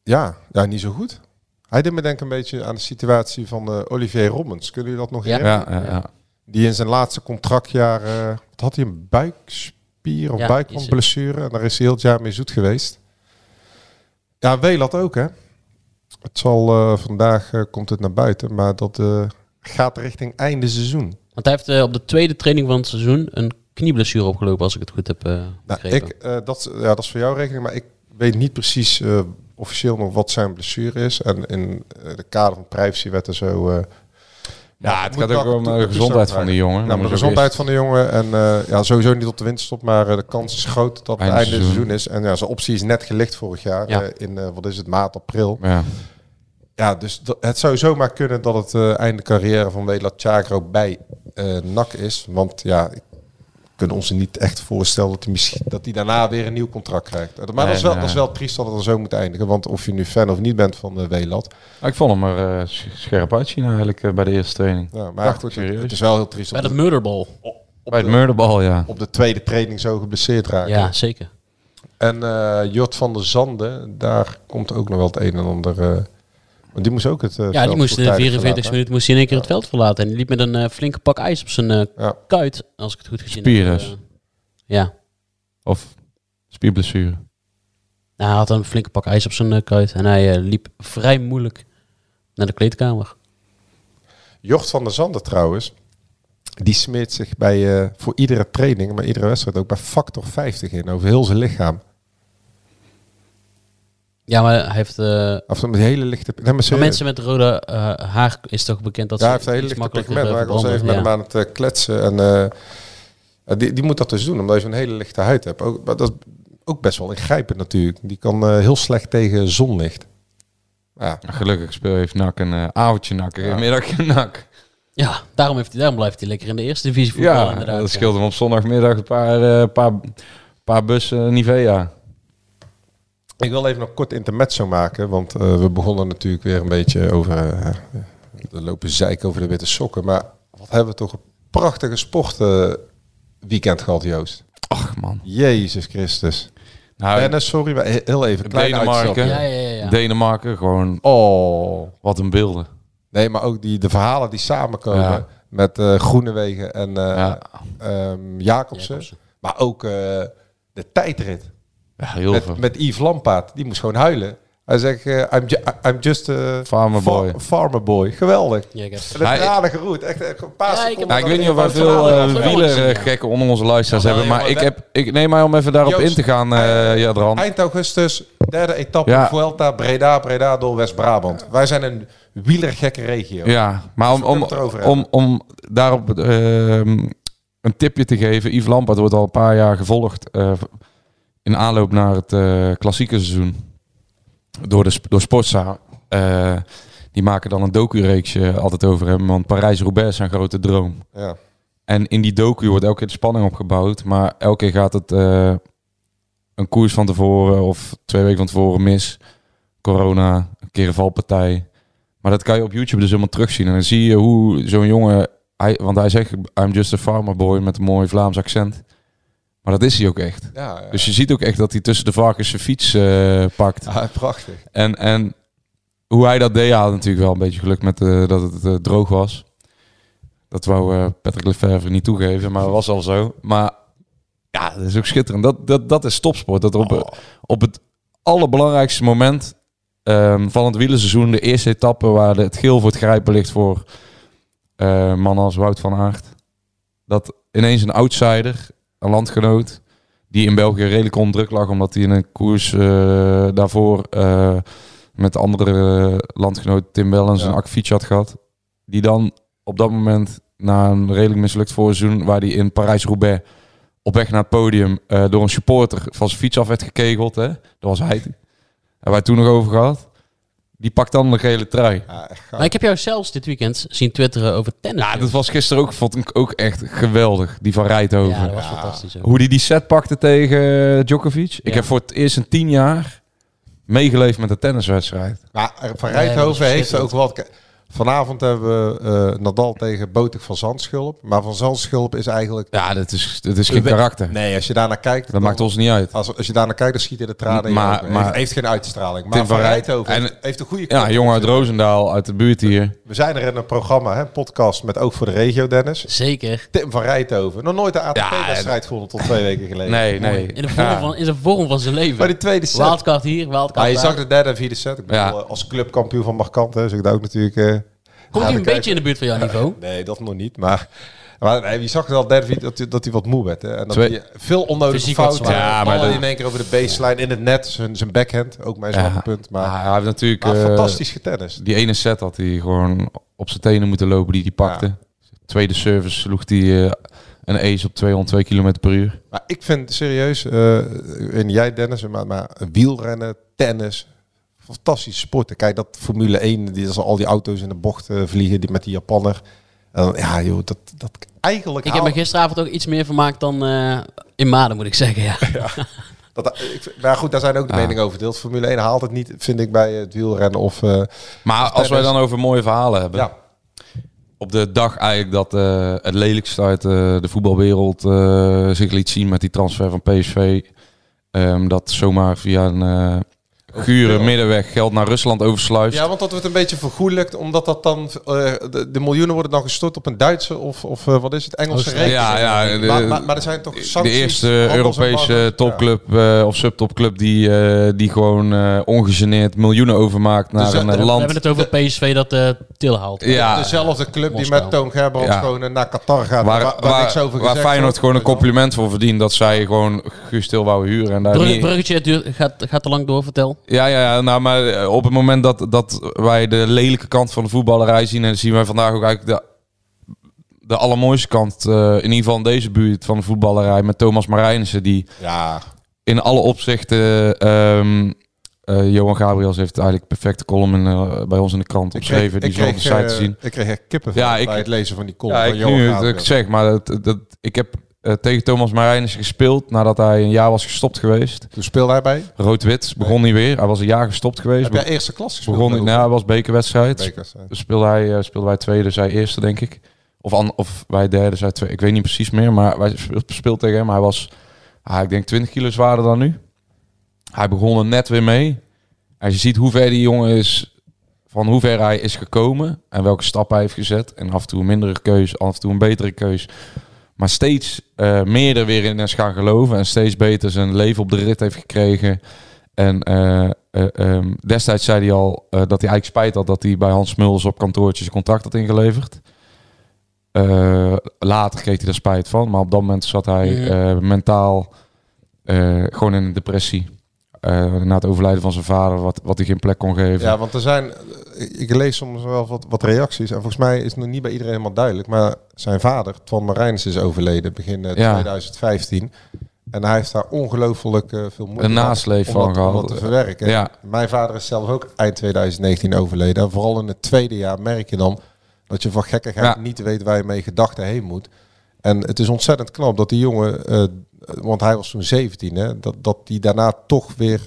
S8: Ja, ja, niet zo goed. Hij deed me denken een beetje aan de situatie van eh, Olivier Robbins. Kunnen jullie dat nog
S6: Ja.
S8: herinneren?
S7: Ja, ja, ja.
S8: Die in zijn laatste contractjaar... eh, wat had hij een buikspier of
S6: Ja,
S8: buikwandblessure. En daar is hij heel het jaar mee zoet geweest. Ja, Welat ook, hè? Het zal eh, vandaag eh, komt het naar buiten, maar dat eh, gaat richting einde seizoen.
S6: Want hij heeft eh, op de tweede training van het seizoen een knieblessure opgelopen, als ik het goed heb eh
S8: Nou,
S6: begrepen.
S8: ik, eh, dat, is- ja, dat is voor jouw rekening, maar ik weet niet precies eh, officieel nog wat zijn blessure is. En in eh, de kader van privacywet en zo... eh,
S7: Ja, het
S8: moet
S7: gaat ook
S8: wel
S7: om de
S8: toegezag
S7: gezondheid van
S8: worden.
S7: die jongen.
S8: Nou,
S7: Dat
S8: maar de
S7: is ook
S8: gezondheid
S7: eerst.
S8: van de jongen. En eh, ja, sowieso niet op de winterstop. Maar eh, de kans is groot dat het
S7: Einde
S8: einde seizoen.
S7: seizoen.
S8: seizoen is. En ja, zijn optie is net gelicht vorig jaar.
S6: Ja.
S8: eh, in, eh, wat is het, maart, april.
S7: Ja.
S8: Ja, dus dat- het zou zomaar kunnen dat het eh, einde carrière van Wela Chagro bij eh NAC is. Want ja, ik kan ons niet echt voorstellen dat hij, misschien, dat hij daarna weer een nieuw contract krijgt. Eh, Maar dat, is
S7: Nee,
S8: wel,
S7: nee.
S8: dat is wel triest dat het dan zo moet eindigen. Want of je nu fan of niet bent van uh, Welat.
S7: Ja, Ik vond hem er eh, sch- scherp uitzien eigenlijk eh, bij de eerste training.
S8: Ja, maar
S7: Dacht
S8: goed,
S7: ik
S8: het,
S7: serieus.
S8: het is wel heel triest
S6: Bij
S8: dat
S6: dat
S8: hij
S6: murderball.
S7: bij het murderbal, ja.
S8: op de tweede training zo geblesseerd raakt.
S6: Ja, zeker.
S8: En eh, Jort van der Zanden, daar komt ook nog wel het een en ander. eh, want die moest ook het. eh,
S6: Ja,
S8: veld
S6: die moest in de
S8: voortijdig
S6: 44
S8: verlaten.
S6: minuten moest hij in één keer het veld verlaten. En die liep met een eh, flinke pak ijs op zijn eh,
S8: Ja.
S6: kuit, als ik het goed gezien
S7: Spier
S6: heb.
S7: dus.
S6: Eh, ja,
S7: Of spierblessure.
S6: Nou, hij had een flinke pak ijs op zijn eh, kuit. En hij eh, liep vrij moeilijk naar de kleedkamer.
S8: Jocht van der Zanden trouwens, die smeert zich bij, eh, voor iedere training, maar iedere wedstrijd ook bij factor 50 in over heel zijn lichaam.
S6: Ja, maar hij heeft... eh,
S8: Of met die hele lichte. Nee, maar
S6: Maar
S8: serieus.
S6: mensen met rode eh, haar is toch bekend dat
S8: ja,
S6: ze
S8: hij heeft een hele
S6: iets
S8: lichte
S6: makkelijker
S8: pigment. Maar ik was even
S6: verbranden.
S8: met
S6: Ja.
S8: hem aan het eh, kletsen. En eh, eh, die, die moet dat dus doen, omdat je een hele lichte huid hebt. Ook, maar dat is ook best wel ingrijpend natuurlijk. Die kan eh, heel slecht tegen zonlicht. Ja,
S7: Ja, Gelukkig speel heeft NAC een eh, avondje NAC, een middagje NAC.
S6: Ja, daarom, heeft hij, daarom blijft hij lekker in de eerste divisie voetballen.
S7: Ja,
S6: inderdaad.
S7: dat scheelt hem op zondagmiddag een paar, eh, paar, paar bussen Nivea.
S8: Ik wil even nog kort intermezzo maken, want eh, we begonnen natuurlijk weer een beetje over eh, de lopen zeik over de witte sokken. Maar wat hebben we toch een prachtige sportweekend weekend gehad, Joost.
S7: Ach man.
S8: Jezus Christus.
S7: Nou,
S8: Dennis, sorry, maar he- heel even. Klein
S7: Denemarken.
S8: uitstapje.
S6: Ja, ja, ja. ja.
S7: Denemarken, gewoon
S8: Oh.
S7: wat een beelden.
S8: Nee, maar ook die, de verhalen die samenkomen
S7: Ja.
S8: met eh Groenewegen en eh,
S7: Ja,
S8: ehm, Jacobsen.
S6: Jacobsen.
S8: Maar ook eh, de tijdrit.
S7: ja heel veel.
S8: met, met Yves Lampaard. Die moest gewoon huilen. Hij zegt, eh, I'm, ju- I'm just eh, a
S7: Farmer boy.
S8: farmer boy. Geweldig.
S6: Ja, ik heb-
S8: En het
S7: Hij-
S8: rare geroet. Echt, echt een paar
S6: Ja, ik
S8: seconden.
S7: Nou, ik
S8: dat
S7: weet niet
S8: hij
S7: of wij
S8: gewoon
S7: veel
S8: verhalen
S7: eh,
S8: had.
S6: verhalen gezien, ja.
S7: wielergekken onder onze luisteraars
S8: Nou, Ja,
S7: hebben,
S8: wel,
S7: maar ik,
S8: jongen,
S7: heb, ik neem mij om even daarop
S8: Joost,
S7: in te gaan, eh Jadran.
S8: Eind augustus, derde etappe,
S7: Ja.
S8: Vuelta, Breda, Breda door West-Brabant. Wij zijn een wielergekke regio.
S7: Ja, maar om,
S8: we kunnen
S7: om,
S8: het erover hebben.
S7: om, om daarop ehm, een tipje te geven. Yves Lampard wordt al een paar jaar gevolgd eh, in aanloop naar het eh, klassieke seizoen. Door, de, sp- door Sportza. Eh, die maken dan een docu-reeksje altijd over hem. Want Parijs-Roubaix is zijn grote droom.
S8: Ja.
S7: En in die docu wordt elke keer de spanning opgebouwd. Maar elke keer gaat het eh, een koers van tevoren of twee weken van tevoren mis. Corona, een keer een valpartij. Maar dat kan je op YouTube dus helemaal terugzien. En dan zie je hoe zo'n jongen... Hij, want hij zegt, I'm just a farmer boy met een mooi Vlaams accent. Maar dat is hij ook echt.
S8: Ja, ja.
S7: Dus je ziet ook echt dat hij tussen de varkens zijn fiets eh, pakt.
S8: Ja, prachtig.
S7: En, en hoe hij dat deed, hij had natuurlijk wel een beetje geluk met eh, dat het eh, droog was. Dat wou eh, Patrick Lefevre niet toegeven, maar dat was al zo. Maar ja, dat is ook schitterend. Dat, dat, dat is topsport. Dat er op, op het allerbelangrijkste moment ehm, van het wielerseizoen, de eerste etappe waar de- het geel voor het grijpen ligt voor eh, mannen als Wout van Aert. Dat ineens een outsider, een landgenoot, die in België redelijk onder druk lag, omdat hij in een koers eh, daarvoor eh, met andere eh, landgenoot Tim Wellens
S8: Ja.
S7: een akkefietje had gehad. Die dan op dat moment, na een redelijk mislukt voorseizoen, waar hij in Parijs-Roubaix op weg naar het podium eh, door een supporter van zijn fiets af werd gekegeld. Hè? Dat was hij. Hebben wij het toen nog over gehad. Die pakt dan de gele trui.
S8: Ja, echt gaaf.
S6: Maar ik heb jou zelfs dit weekend zien twitteren over tennis.
S7: Ja, dat was gisteren ook, vond ik ook echt geweldig. Die van Rijthoven.
S6: Ja, dat was fantastisch. ook.
S7: Hoe die die set pakte tegen Djokovic. Ik heb voor het eerst in tien jaar meegeleefd met een tenniswedstrijd.
S8: Maar eh, Van
S6: Nee, maar dat
S8: Rijthoven
S6: is
S8: heeft ook wat... Kijk, Vanavond hebben we eh, Nadal tegen Botig van Zandschulp. Maar van Zandschulp is eigenlijk...
S7: Ja, dat is, dat is geen
S8: We-
S7: karakter.
S8: Nee, als je daarnaar kijkt...
S7: Dat
S8: dan-
S7: maakt ons niet uit.
S8: Als, als je daarnaar kijkt, dan schieten de tranen in je
S7: Maar-
S8: ogen.
S7: maar-
S8: heeft, heeft geen uitstraling. Maar
S7: Tim
S8: Van
S7: van Rij-
S8: Rijthoven
S7: en-
S8: heeft- heeft een goede
S7: Ja,
S8: kant.
S7: een jongen uit Roosendaal, uit de buurt hier.
S8: We zijn er in een programma, hè, een podcast met Ook voor de Regio, Dennis.
S6: Zeker.
S8: Tim van Rijthoven. Nog nooit de
S7: Ja,
S8: ATP-wedstrijd gewonnen tot twee weken geleden.
S7: Nee, nee.
S6: In de vorm,
S7: Ja.
S6: van, in de vorm van zijn leven.
S8: Maar die tweede set.
S6: Wildcard hier, wildcard
S8: Maar je
S6: daar.
S8: zag de derde en vierde set. Ik bedoel,
S7: Ja.
S8: eh, als clubkampioen van Markant, hè, zeg ik dat ook natuurlijk... eh,
S6: Komt
S8: aan
S6: hij
S8: de
S6: een
S8: kijk.
S6: beetje in de buurt van jouw niveau?
S8: Nee, dat nog niet, maar... Maar nee, je zag wel Derby dat hij dat hij wat moe werd. Hè? En dat
S7: Twee-
S8: hij veel onnodige
S6: Fysiek wat
S8: fouten.
S7: zwaar. Ja,
S8: Ja,
S7: maar
S8: maar
S7: dat-
S8: in één keer over de baseline in het net. Zijn, zijn backhand, ook mijn zwakke punt. Maar,
S7: hij heeft natuurlijk
S8: maar
S7: eh,
S8: fantastisch getennist.
S7: die ene set had hij gewoon op zijn tenen moeten lopen die hij pakte. Tweede service sloeg hij eh, een ace op 202 km per uur.
S8: Maar ik vind serieus, eh, en jij Dennis, maar, maar wielrennen, tennis, fantastische sporten. Kijk, dat Formule 1, die is al die auto's in de bocht eh, vliegen die met die Japanner. En dan, ja joh, dat, dat eigenlijk...
S6: Ik heb me
S8: haal-
S6: gisteravond ook iets meer vermaakt dan eh, in Maden, moet ik zeggen. Ja.
S8: dat, eh, ik, vind- maar goed, daar zijn ook de
S7: Ah.
S8: meningen over deeld. Formule 1 haalt het niet, vind ik, bij het wielrennen of... eh,
S7: Maar als wij dan over mooie verhalen hebben.
S8: ja.
S7: Op de dag eigenlijk dat eh, het lelijkste uit eh, de voetbalwereld eh, zich liet zien met die transfer van PSV. ehm, dat zomaar via een eh gure middenweg geld naar Rusland oversluist.
S8: ja, want dat wordt een beetje vergoeilijkt, omdat dat dan... eh, de, de miljoenen worden dan gestort op een Duitse of, of eh, wat is het, Engelse rekening.
S7: Ja, ja, de-
S8: maar, maar, maar er zijn toch
S7: De
S8: sancties?
S7: eerste
S8: handels- en
S7: Europese
S8: markt- ja.
S7: topclub eh, of subtopclub die, eh, die gewoon eh ongegeneerd miljoenen overmaakt naar
S8: Dus, eh,
S7: een
S8: we
S7: eh,
S6: We
S7: land.
S6: hebben het over PSV dat eh Til haalt.
S7: ja,
S8: Dezelfde club die
S6: Moskou.
S8: met Toon Gerbrandt
S7: Ja.
S8: gewoon eh, naar Qatar gaat.
S7: waar,
S8: waar,
S7: waar-
S8: niks over
S7: waar
S8: gezegd
S7: Feyenoord
S8: wordt.
S7: gewoon een compliment voor verdient dat zij gewoon Guus Til wou huren. En daar
S6: Brug-
S7: niet-
S6: bruggetje het duurt- gaat, gaat te lang door, vertel.
S7: Ja, ja, ja, nou, maar eh, op het moment dat, dat wij de lelijke kant van de voetballerij zien... en zien wij vandaag ook eigenlijk de, de allermooiste kant... eh, in ieder geval in deze buurt van de voetballerij... met Thomas Marijnissen, die
S8: Ja,
S7: in alle opzichten... ehm, eh, Johan Gabriels heeft eigenlijk perfecte column in, eh, bij ons in de krant
S8: ik kreeg,
S7: opgeschreven.
S8: ik
S7: die is op de
S8: kreeg,
S7: site te
S8: eh,
S7: zien.
S8: ik kreeg echt kippen
S7: Ja,
S8: bij
S7: ik-
S8: het lezen van die column
S7: Ja,
S8: van
S7: ik,
S8: Johan
S7: nu, het-
S8: Gabriel.
S7: ik zeg, maar dat, dat, ik heb eh, tegen Thomas Marijnissen gespeeld... nadat hij een jaar was gestopt geweest.
S8: Toen speelde hij bij...
S7: Rood-wit begon niet weer. Hij was een jaar gestopt geweest.
S8: Heb jij eerste klas gespeeld?
S7: begon, nou, het was bekerwedstrijd.
S8: Bekers, hè.
S7: speelde hij, eh, speelden wij tweede, zij eerste, denk ik. Of, an, of wij derde, zij tweede. Ik weet niet precies meer, maar wij speel- speelden tegen hem. Hij was, ah, ik denk, 20 kilo zwaarder dan nu. Hij begon er net weer mee. Als je ziet hoe ver die jongen is, van hoe ver hij is gekomen en welke stap hij heeft gezet. En af en toe een mindere keus, af en toe een betere keus. Maar steeds eh, meer er weer in is gaan geloven en steeds beter zijn leven op de rit heeft gekregen. En eh, eh, ehm, destijds zei hij al eh, dat hij eigenlijk spijt had dat hij bij Hans Mulders op kantoortje zijn contract had ingeleverd. Eh, later kreeg hij daar spijt van, maar op dat moment zat hij
S6: Ja.
S7: eh, mentaal eh, gewoon in een depressie. Eh, na het overlijden van zijn vader, wat, wat hij geen plek kon geven.
S8: Ja, want er zijn... eh, Ik lees soms wel wat, wat reacties. En volgens mij is het nog niet bij iedereen helemaal duidelijk. Maar zijn vader, Twan Marijns, is overleden begin eh,
S7: Ja.
S8: 2015. En hij heeft daar ongelooflijk eh, veel moeite
S7: Een
S8: gehad
S7: nasleep
S8: om
S7: van
S8: dat- om
S7: gehad.
S8: dat te verwerken.
S7: Ja.
S8: Mijn vader is zelf ook eind 2019 overleden. En vooral in het tweede jaar merk je dan dat je van gekkigheid
S7: Ja.
S8: niet weet waar je mee gedachten heen moet. En het is ontzettend knap dat die jongen, eh, want hij was toen 17, hè, dat, dat die daarna toch weer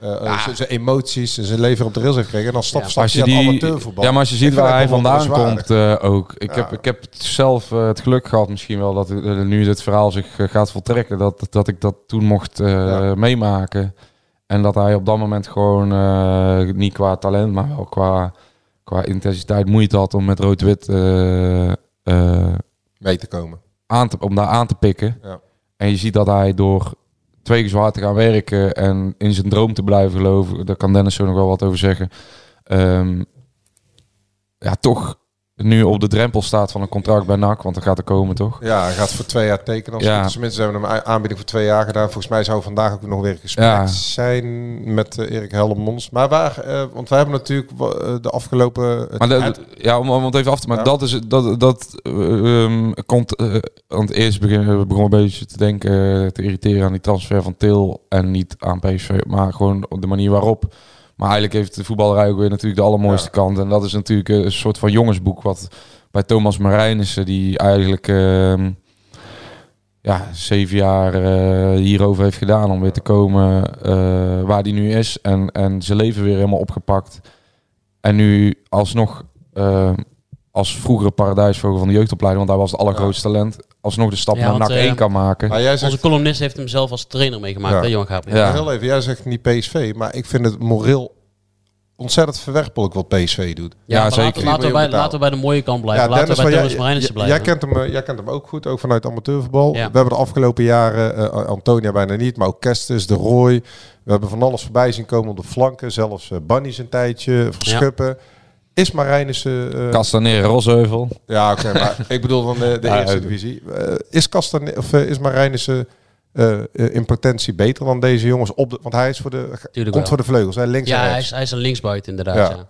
S8: eh, eh, zijn- zijn emoties en zijn leven op de rails heeft gekregen. En dan stap
S6: Ja,
S8: voor stap
S7: als je
S8: hij aan
S7: die,
S8: amateurvoetbal.
S7: ja, maar als je
S8: Ik
S7: ziet
S8: vind
S7: waar hij
S8: dat wel
S7: vandaan
S8: bewonderenswaardig.
S7: komt eh, ook. Ik,
S8: Ja.
S7: heb, ik heb zelf eh, het geluk gehad misschien wel dat eh, nu dit verhaal zich eh, gaat voltrekken. Dat, dat ik dat toen mocht eh,
S8: Ja.
S7: meemaken. En dat hij op dat moment gewoon eh, niet qua talent, maar wel qua, qua intensiteit moeite had om met rood-wit eh, eh,
S8: Mee te komen.
S7: aan te, om daar aan te pikken.
S8: Ja.
S7: En je ziet dat hij door twee keer zo hard te gaan werken en in zijn droom te blijven geloven, daar kan Dennis zo nog wel wat over zeggen. ehm, ja, toch nu op de drempel staat van een contract bij NAC, want dat gaat er komen toch?
S8: Ja, hij gaat voor twee jaar tekenen. Als
S7: Ja.
S8: het goed is. Tenminste, ze hebben hem een aanbieding voor twee jaar gedaan. Volgens mij zou vandaag ook nog weer een gesprek
S7: Ja.
S8: zijn met eh, Erik Hellemons. Maar waar, eh, want wij hebben natuurlijk wa- eh, de afgelopen...
S7: Maar
S8: het-
S7: dat, ja, om, om het even af te maken,
S8: Ja.
S7: dat is dat dat eh, ehm, komt. eh, want eerst begin, we begonnen een beetje te denken, eh, te irriteren aan die transfer van Til en niet aan PSV, maar gewoon op de manier waarop. Maar eigenlijk heeft de voetballerij ook weer natuurlijk de allermooiste kant. En dat is natuurlijk eh, een soort van jongensboek wat bij Thomas Marijnissen, die eigenlijk ehm, ja, zeven jaar eh, hierover heeft gedaan om weer te komen eh, waar hij nu is. En, en zijn leven weer helemaal opgepakt. En nu alsnog eh, als vroegere paradijsvogel van de jeugdopleiding, want hij was het allergrootste talent, alsnog de stap
S6: Ja,
S7: naar
S6: want,
S7: NAC
S6: eh,
S7: 1 kan maken.
S8: Maar jij zegt
S6: Onze columnist heeft hem zelf als trainer meegemaakt,
S8: Ja.
S6: hè, Johan Gabriel?
S7: Ja.
S8: Maar Heel even, jij zegt niet PSV, maar ik vind het moreel ontzettend verwerpelijk wat PSV doet.
S7: Ja,
S6: maar
S7: zeker.
S6: Laten,
S7: Die
S6: laten, we bij,
S8: miljoen
S6: laten we bij de mooie kant blijven. laten we bij
S8: want
S6: Thomas
S8: jij-
S6: Marijnissen
S8: jij,
S6: blijven.
S8: jij kent hem, eh, jij kent hem ook goed, ook vanuit amateurvoetbal.
S6: Ja.
S8: We hebben de afgelopen jaren eh, Antonia bijna niet, maar ook Kestes, De Roy. We hebben van alles voorbij zien komen op de flanken. Zelfs eh Bunny een tijdje, Verschuppen. eh, Is Marijnissen... eh,
S7: Castanere, Rosheuvel.
S8: ja, oké, maar ik bedoel dan de, de
S7: Ja,
S8: eerste
S7: ja.
S8: divisie. Eh, is Kasten, of eh, is Marijnissen eh, eh, in potentie beter dan deze jongens? Op de, want hij is voor de, komt
S6: wel.
S8: voor de vleugels, hè, links
S6: Ja,
S8: en
S6: hij
S8: rechts.
S6: is, hij is een linksbuiten inderdaad.
S8: Ja.
S6: Ja. Nee,
S8: maar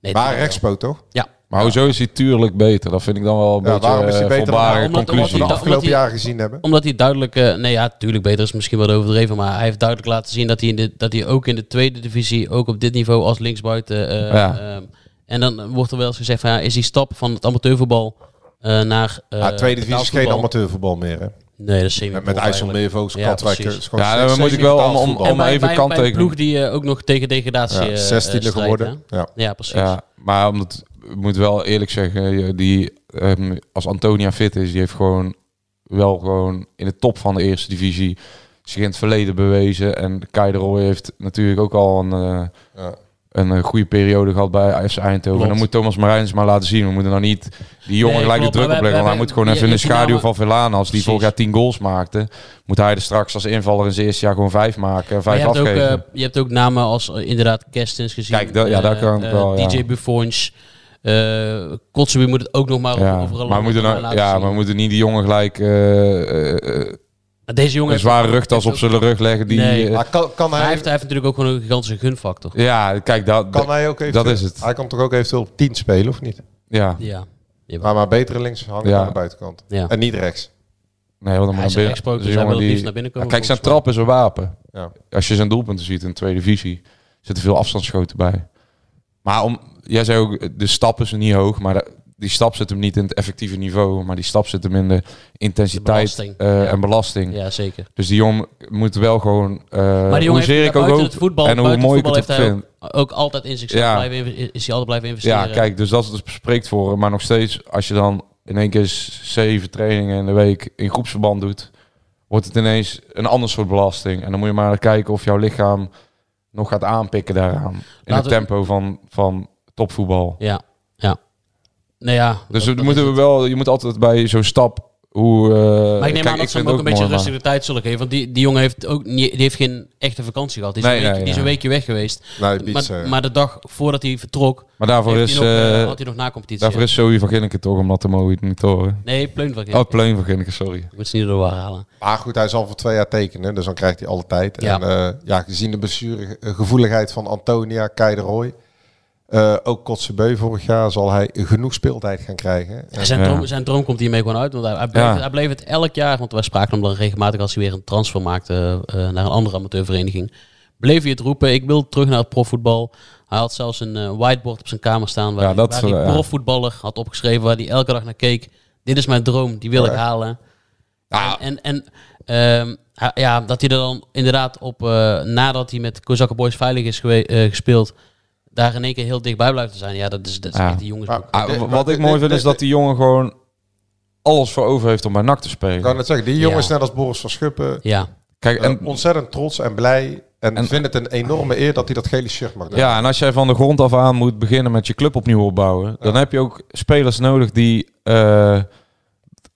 S6: tuurlijk wel.
S8: rechtspoot, toch?
S6: Ja,
S7: Maar hoezo is hij tuurlijk beter? Dat vind ik dan wel een
S8: Ja, waarom is
S7: beetje
S8: hij
S7: een
S8: beter dan-
S7: volbare
S6: Omdat- omdat
S7: conclusie.
S8: Wat we de
S6: hij-
S8: afgelopen
S6: hij-
S8: jaren gezien hebben.
S6: Omdat hij duidelijk, eh, nee ja, tuurlijk beter is misschien wel overdreven, maar hij heeft duidelijk laten zien dat hij, in de, dat hij ook in de tweede divisie, ook op dit niveau als linksbuiten. eh,
S7: Ja.
S6: ehm, en dan wordt er wel eens gezegd van ja, is die stap van het amateurvoetbal eh, naar. eh,
S8: ja, tweede divisie is geen
S6: betaalvoetbal-
S8: amateurvoetbal meer, hè?
S6: Nee, dat is semi
S8: Met IJsselmeer, Vogels,
S6: Ja,
S8: Katwijk.
S6: precies.
S8: eh, is gewoon
S7: Ja,
S8: steeds-
S7: dan moet ik
S8: steeds
S7: wel
S8: betaald
S7: om, om,
S8: voetbal.
S7: om
S6: bij,
S7: even
S6: bij, bij een ploeg
S7: kanttekening.
S6: die eh, ook nog tegen degradatie.
S8: Ja,
S6: eh, eh,
S8: 16e
S6: strijdt,
S8: geworden.
S6: hè?
S8: Ja.
S6: Ja, precies.
S7: Ja, maar omdat, ik moet wel eerlijk zeggen, je- die, ehm, als Antonia fit is, die heeft gewoon wel gewoon in de top van de eerste divisie zich in het verleden bewezen. En Kai de Roy heeft natuurlijk ook al een, eh,
S8: Ja.
S7: een eh, goede periode gehad bij FC Eindhoven. En dan
S6: Klopt.
S7: moet Thomas Marijns maar laten zien. We moeten nou niet die jongen
S6: Nee,
S7: gelijk
S6: klopt,
S7: de druk
S6: maar wij-
S7: opleggen. Want
S6: wij-
S7: hij moet gewoon
S6: je-
S7: even in
S6: je
S7: de
S6: hebt die
S7: schaduw
S6: namen-
S7: van Velana. Als die
S6: Precies.
S7: vorig jaar 10 goals maakte, moet hij er straks als invaller in zijn eerste jaar gewoon 5 maken. en
S6: Maar
S7: 5
S6: je, hebt ook,
S7: afgeven.
S6: eh, je hebt ook namen als eh, inderdaad Kerstens gezien.
S7: Kijk, dat- ja, daar
S6: eh,
S7: kan ik
S6: eh,
S7: wel, ja.
S6: DJ Buffons. eh Kotzebue moet het ook nog maar
S7: ja,
S6: overal
S7: maar we moeten nou-
S6: laten
S7: ja,
S6: zien.
S7: maar we moeten niet die jongen gelijk eh, eh, eh,
S6: Deze jongen heeft-
S7: een zware rugtas op
S6: heeft ook-
S7: zijn rug leggen. Die,
S6: Nee.
S7: eh,
S8: Maar kan, kan,
S6: Hij
S8: hij,
S6: heeft, hij heeft natuurlijk ook gewoon een gigantische gunfactor.
S7: ja, kijk, dat,
S8: kan hij ook even...
S7: is het.
S8: Hij kan toch ook eventueel op 10 spelen, of niet?
S7: ja.
S6: Ja.
S8: Maar maar betere links hangen
S7: Ja.
S8: aan de buitenkant.
S6: ja.
S8: En niet rechts.
S7: Nee, wat dan
S6: Hij
S7: maar
S6: is
S7: naar
S6: een
S7: binnen.
S6: rechtspoot,
S7: Dus
S6: dus
S7: een
S6: hij wil
S7: jongen
S6: het
S7: die-
S6: liefst naar binnen
S7: Ja,
S6: komen.
S7: kijk, zijn
S6: volgens
S7: trap is een wapen.
S8: Ja. Nou,
S7: Als je zijn doelpunten ziet in de tweede divisie, zitten veel afstandsschoten bij. Maar om, jij zei ook, de stap is niet hoog, maar de- die stap zit hem niet in het effectieve niveau, maar die stap zit hem in de intensiteit
S6: belasting.
S7: eh,
S6: Ja.
S7: en belasting.
S6: mij. Ja, zeker.
S7: Dus die jongen moet wel gewoon, eh
S6: Maar die jongen
S7: hoezeer
S6: heeft
S7: ik ook
S6: buiten
S7: hoop
S6: het voetbal,
S7: en hoe
S6: buiten
S7: mooi
S6: het
S7: ik
S6: voetbal
S7: het
S6: heeft
S7: ook
S6: hij
S7: vind.
S6: ook, ook altijd in zichzelf
S7: Ja.
S6: blijven inve- is hij altijd blijven
S7: Ja,
S6: investeren.
S7: kijk, dus dat is- spreekt voor. hem. Maar nog steeds, als je dan in één keer zeven trainingen in de week in groepsverband doet, wordt het ineens een ander soort belasting. En dan moet je maar kijken of jouw lichaam nog gaat aanpikken daaraan. In
S6: Laten
S7: het
S6: we-
S7: tempo van, van topvoetbal.
S6: Ja, ja. Nou ja.
S7: Dus
S6: dat-
S7: we
S6: dat
S7: moeten
S6: is
S7: we
S6: het.
S7: wel, je moet altijd bij zo'n stap hoe. eh,
S6: Maar ik neem
S7: kijk,
S6: aan dat ze hem ook
S7: vind het
S6: een beetje
S7: mooi, maar-
S6: rustig de tijd zullen geven. Want die, die jongen heeft ook niet, die heeft geen echte vakantie gehad. Die is,
S7: Nee,
S6: een, week-
S7: nee,
S6: die is een
S7: nee.
S6: weekje weg geweest.
S8: Nee, Bietse,
S6: maar,
S8: ja.
S6: maar de dag voordat hij vertrok,
S7: Maar daarvoor
S6: heeft
S7: is,
S6: hij nog, eh,
S7: eh,
S6: had hij nog na-competitie.
S7: daarvoor
S6: ja.
S7: is Zoe van Ginneke toch om dat te mogen niet horen.
S6: Nee, Pleun van
S7: Oh, Pleun van Ginneke, sorry.
S6: Ik moet ze niet door elkaar halen.
S8: Maar goed, hij zal voor twee jaar tekenen, dus dan krijgt hij alle tijd.
S6: Ja.
S8: En eh, ja, gezien de blessuregevoeligheid van Antonia, Kei de Roy, eh, ook Kotzebue vorig jaar, zal hij genoeg speeltijd gaan krijgen. En-
S6: Zijn,
S7: Ja.
S6: droom, zijn droom komt hiermee gewoon uit. Want hij, hij, bleef,
S7: Ja.
S6: hij bleef het elk jaar, want wij spraken hem dan regelmatig als hij weer een transfer maakte eh, naar een andere amateurvereniging. Bleef hij het roepen, ik wil terug naar het profvoetbal. Hij had zelfs een eh, whiteboard op zijn kamer staan waar,
S7: Ja,
S6: hij-
S7: dat
S6: waar
S7: is wel-
S6: hij
S7: ja.
S6: profvoetballer had opgeschreven, waar hij elke dag naar keek. Dit is mijn droom, die wil ik halen.
S7: Ja.
S6: En, en ehm, hij- ja, dat hij er dan inderdaad op, eh, nadat hij met Kozakken Boys veilig is gewe- eh, gespeeld, daar in één keer heel dichtbij blijft te zijn. Ja, dat is, dat is
S7: Ja.
S6: echt een jongensboek.
S7: Ah,
S8: Dit-
S7: w-
S8: Eh, maar
S7: wat ik
S8: dit-
S7: mooi
S8: dit-
S7: vind is
S8: dit-
S7: dat die jongen gewoon alles voor over heeft om bij NAC te
S8: Ik kan
S7: spelen.
S8: het zeggen, die jongens,
S6: Ja.
S8: net als Boris van Schuppen,
S6: Ja.
S7: Kijk, en,
S8: eh, ontzettend trots en blij. En,
S7: En-
S8: vind het een enorme eer dat hij dat gele shirt mag dragen.
S7: ja, en als jij van de grond af aan moet beginnen met je club opnieuw opbouwen, dan heb je ook spelers nodig die eh,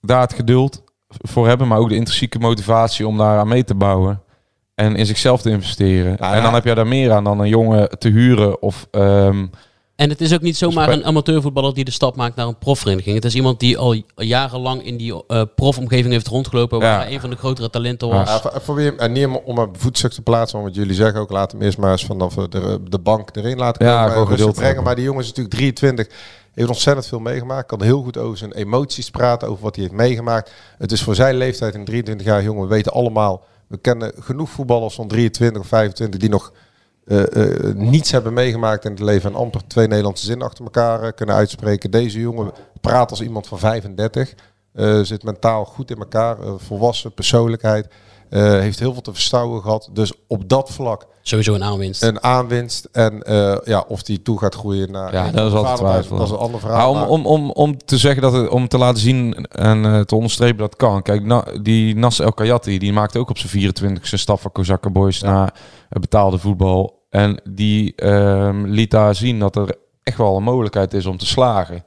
S7: daar het geduld voor hebben, maar ook de intrinsieke motivatie om daar aan mee te bouwen. En in zichzelf te investeren.
S8: Nou,
S7: en dan
S8: ja.
S7: heb jij daar meer aan dan een jongen te huren of ehm,
S6: En het is ook niet zomaar
S7: Dus bij-
S6: een amateurvoetballer die de stap maakt naar een profvereniging. Het is iemand die al jarenlang in die eh, profomgeving heeft rondgelopen. Waar
S7: Ja.
S6: hij een van de grotere talenten
S7: Ja.
S6: was.
S8: Ja, voor- voor wie hem- en niet om, om hem voetstuk te plaatsen, want wat jullie zeggen ook, laat hem eerst maar eens vanaf de, de bank erin laten
S7: Ja,
S8: komen. en
S7: gewoon
S8: rustig
S7: geduld
S8: brengen.
S7: hebben.
S8: Maar die jongen is natuurlijk 23, heeft ontzettend veel meegemaakt, kan heel goed over zijn emoties praten, over wat hij heeft meegemaakt. Het is voor zijn leeftijd een 23 jaar jongen, we weten allemaal, we kennen genoeg voetballers van 23 of 25 die nog eh, eh, niets hebben meegemaakt in het leven en amper twee Nederlandse zinnen achter elkaar eh, kunnen uitspreken. Deze jongen praat als iemand van 35, eh, zit mentaal goed in elkaar, eh, volwassen persoonlijkheid, eh, heeft heel veel te verstouwen gehad. Dus op dat vlak
S6: Sowieso een aanwinst.
S8: een aanwinst en eh, ja, of die toe gaat groeien naar...
S7: Ja, dat is altijd
S8: vaderhuis,
S7: twijfelen.
S8: Dat is een ander verhaal.
S7: Ja, om,
S8: maar-
S7: Nou, om, om, om te zeggen dat het, om te laten zien en eh, te onderstrepen dat kan. Kijk, na, die Nas El Kayati, die maakte ook op zijn 24 zijn stap van Kozakken Boys naar eh, betaalde voetbal. En die ehm, liet daar zien dat er echt wel een mogelijkheid is om te slagen.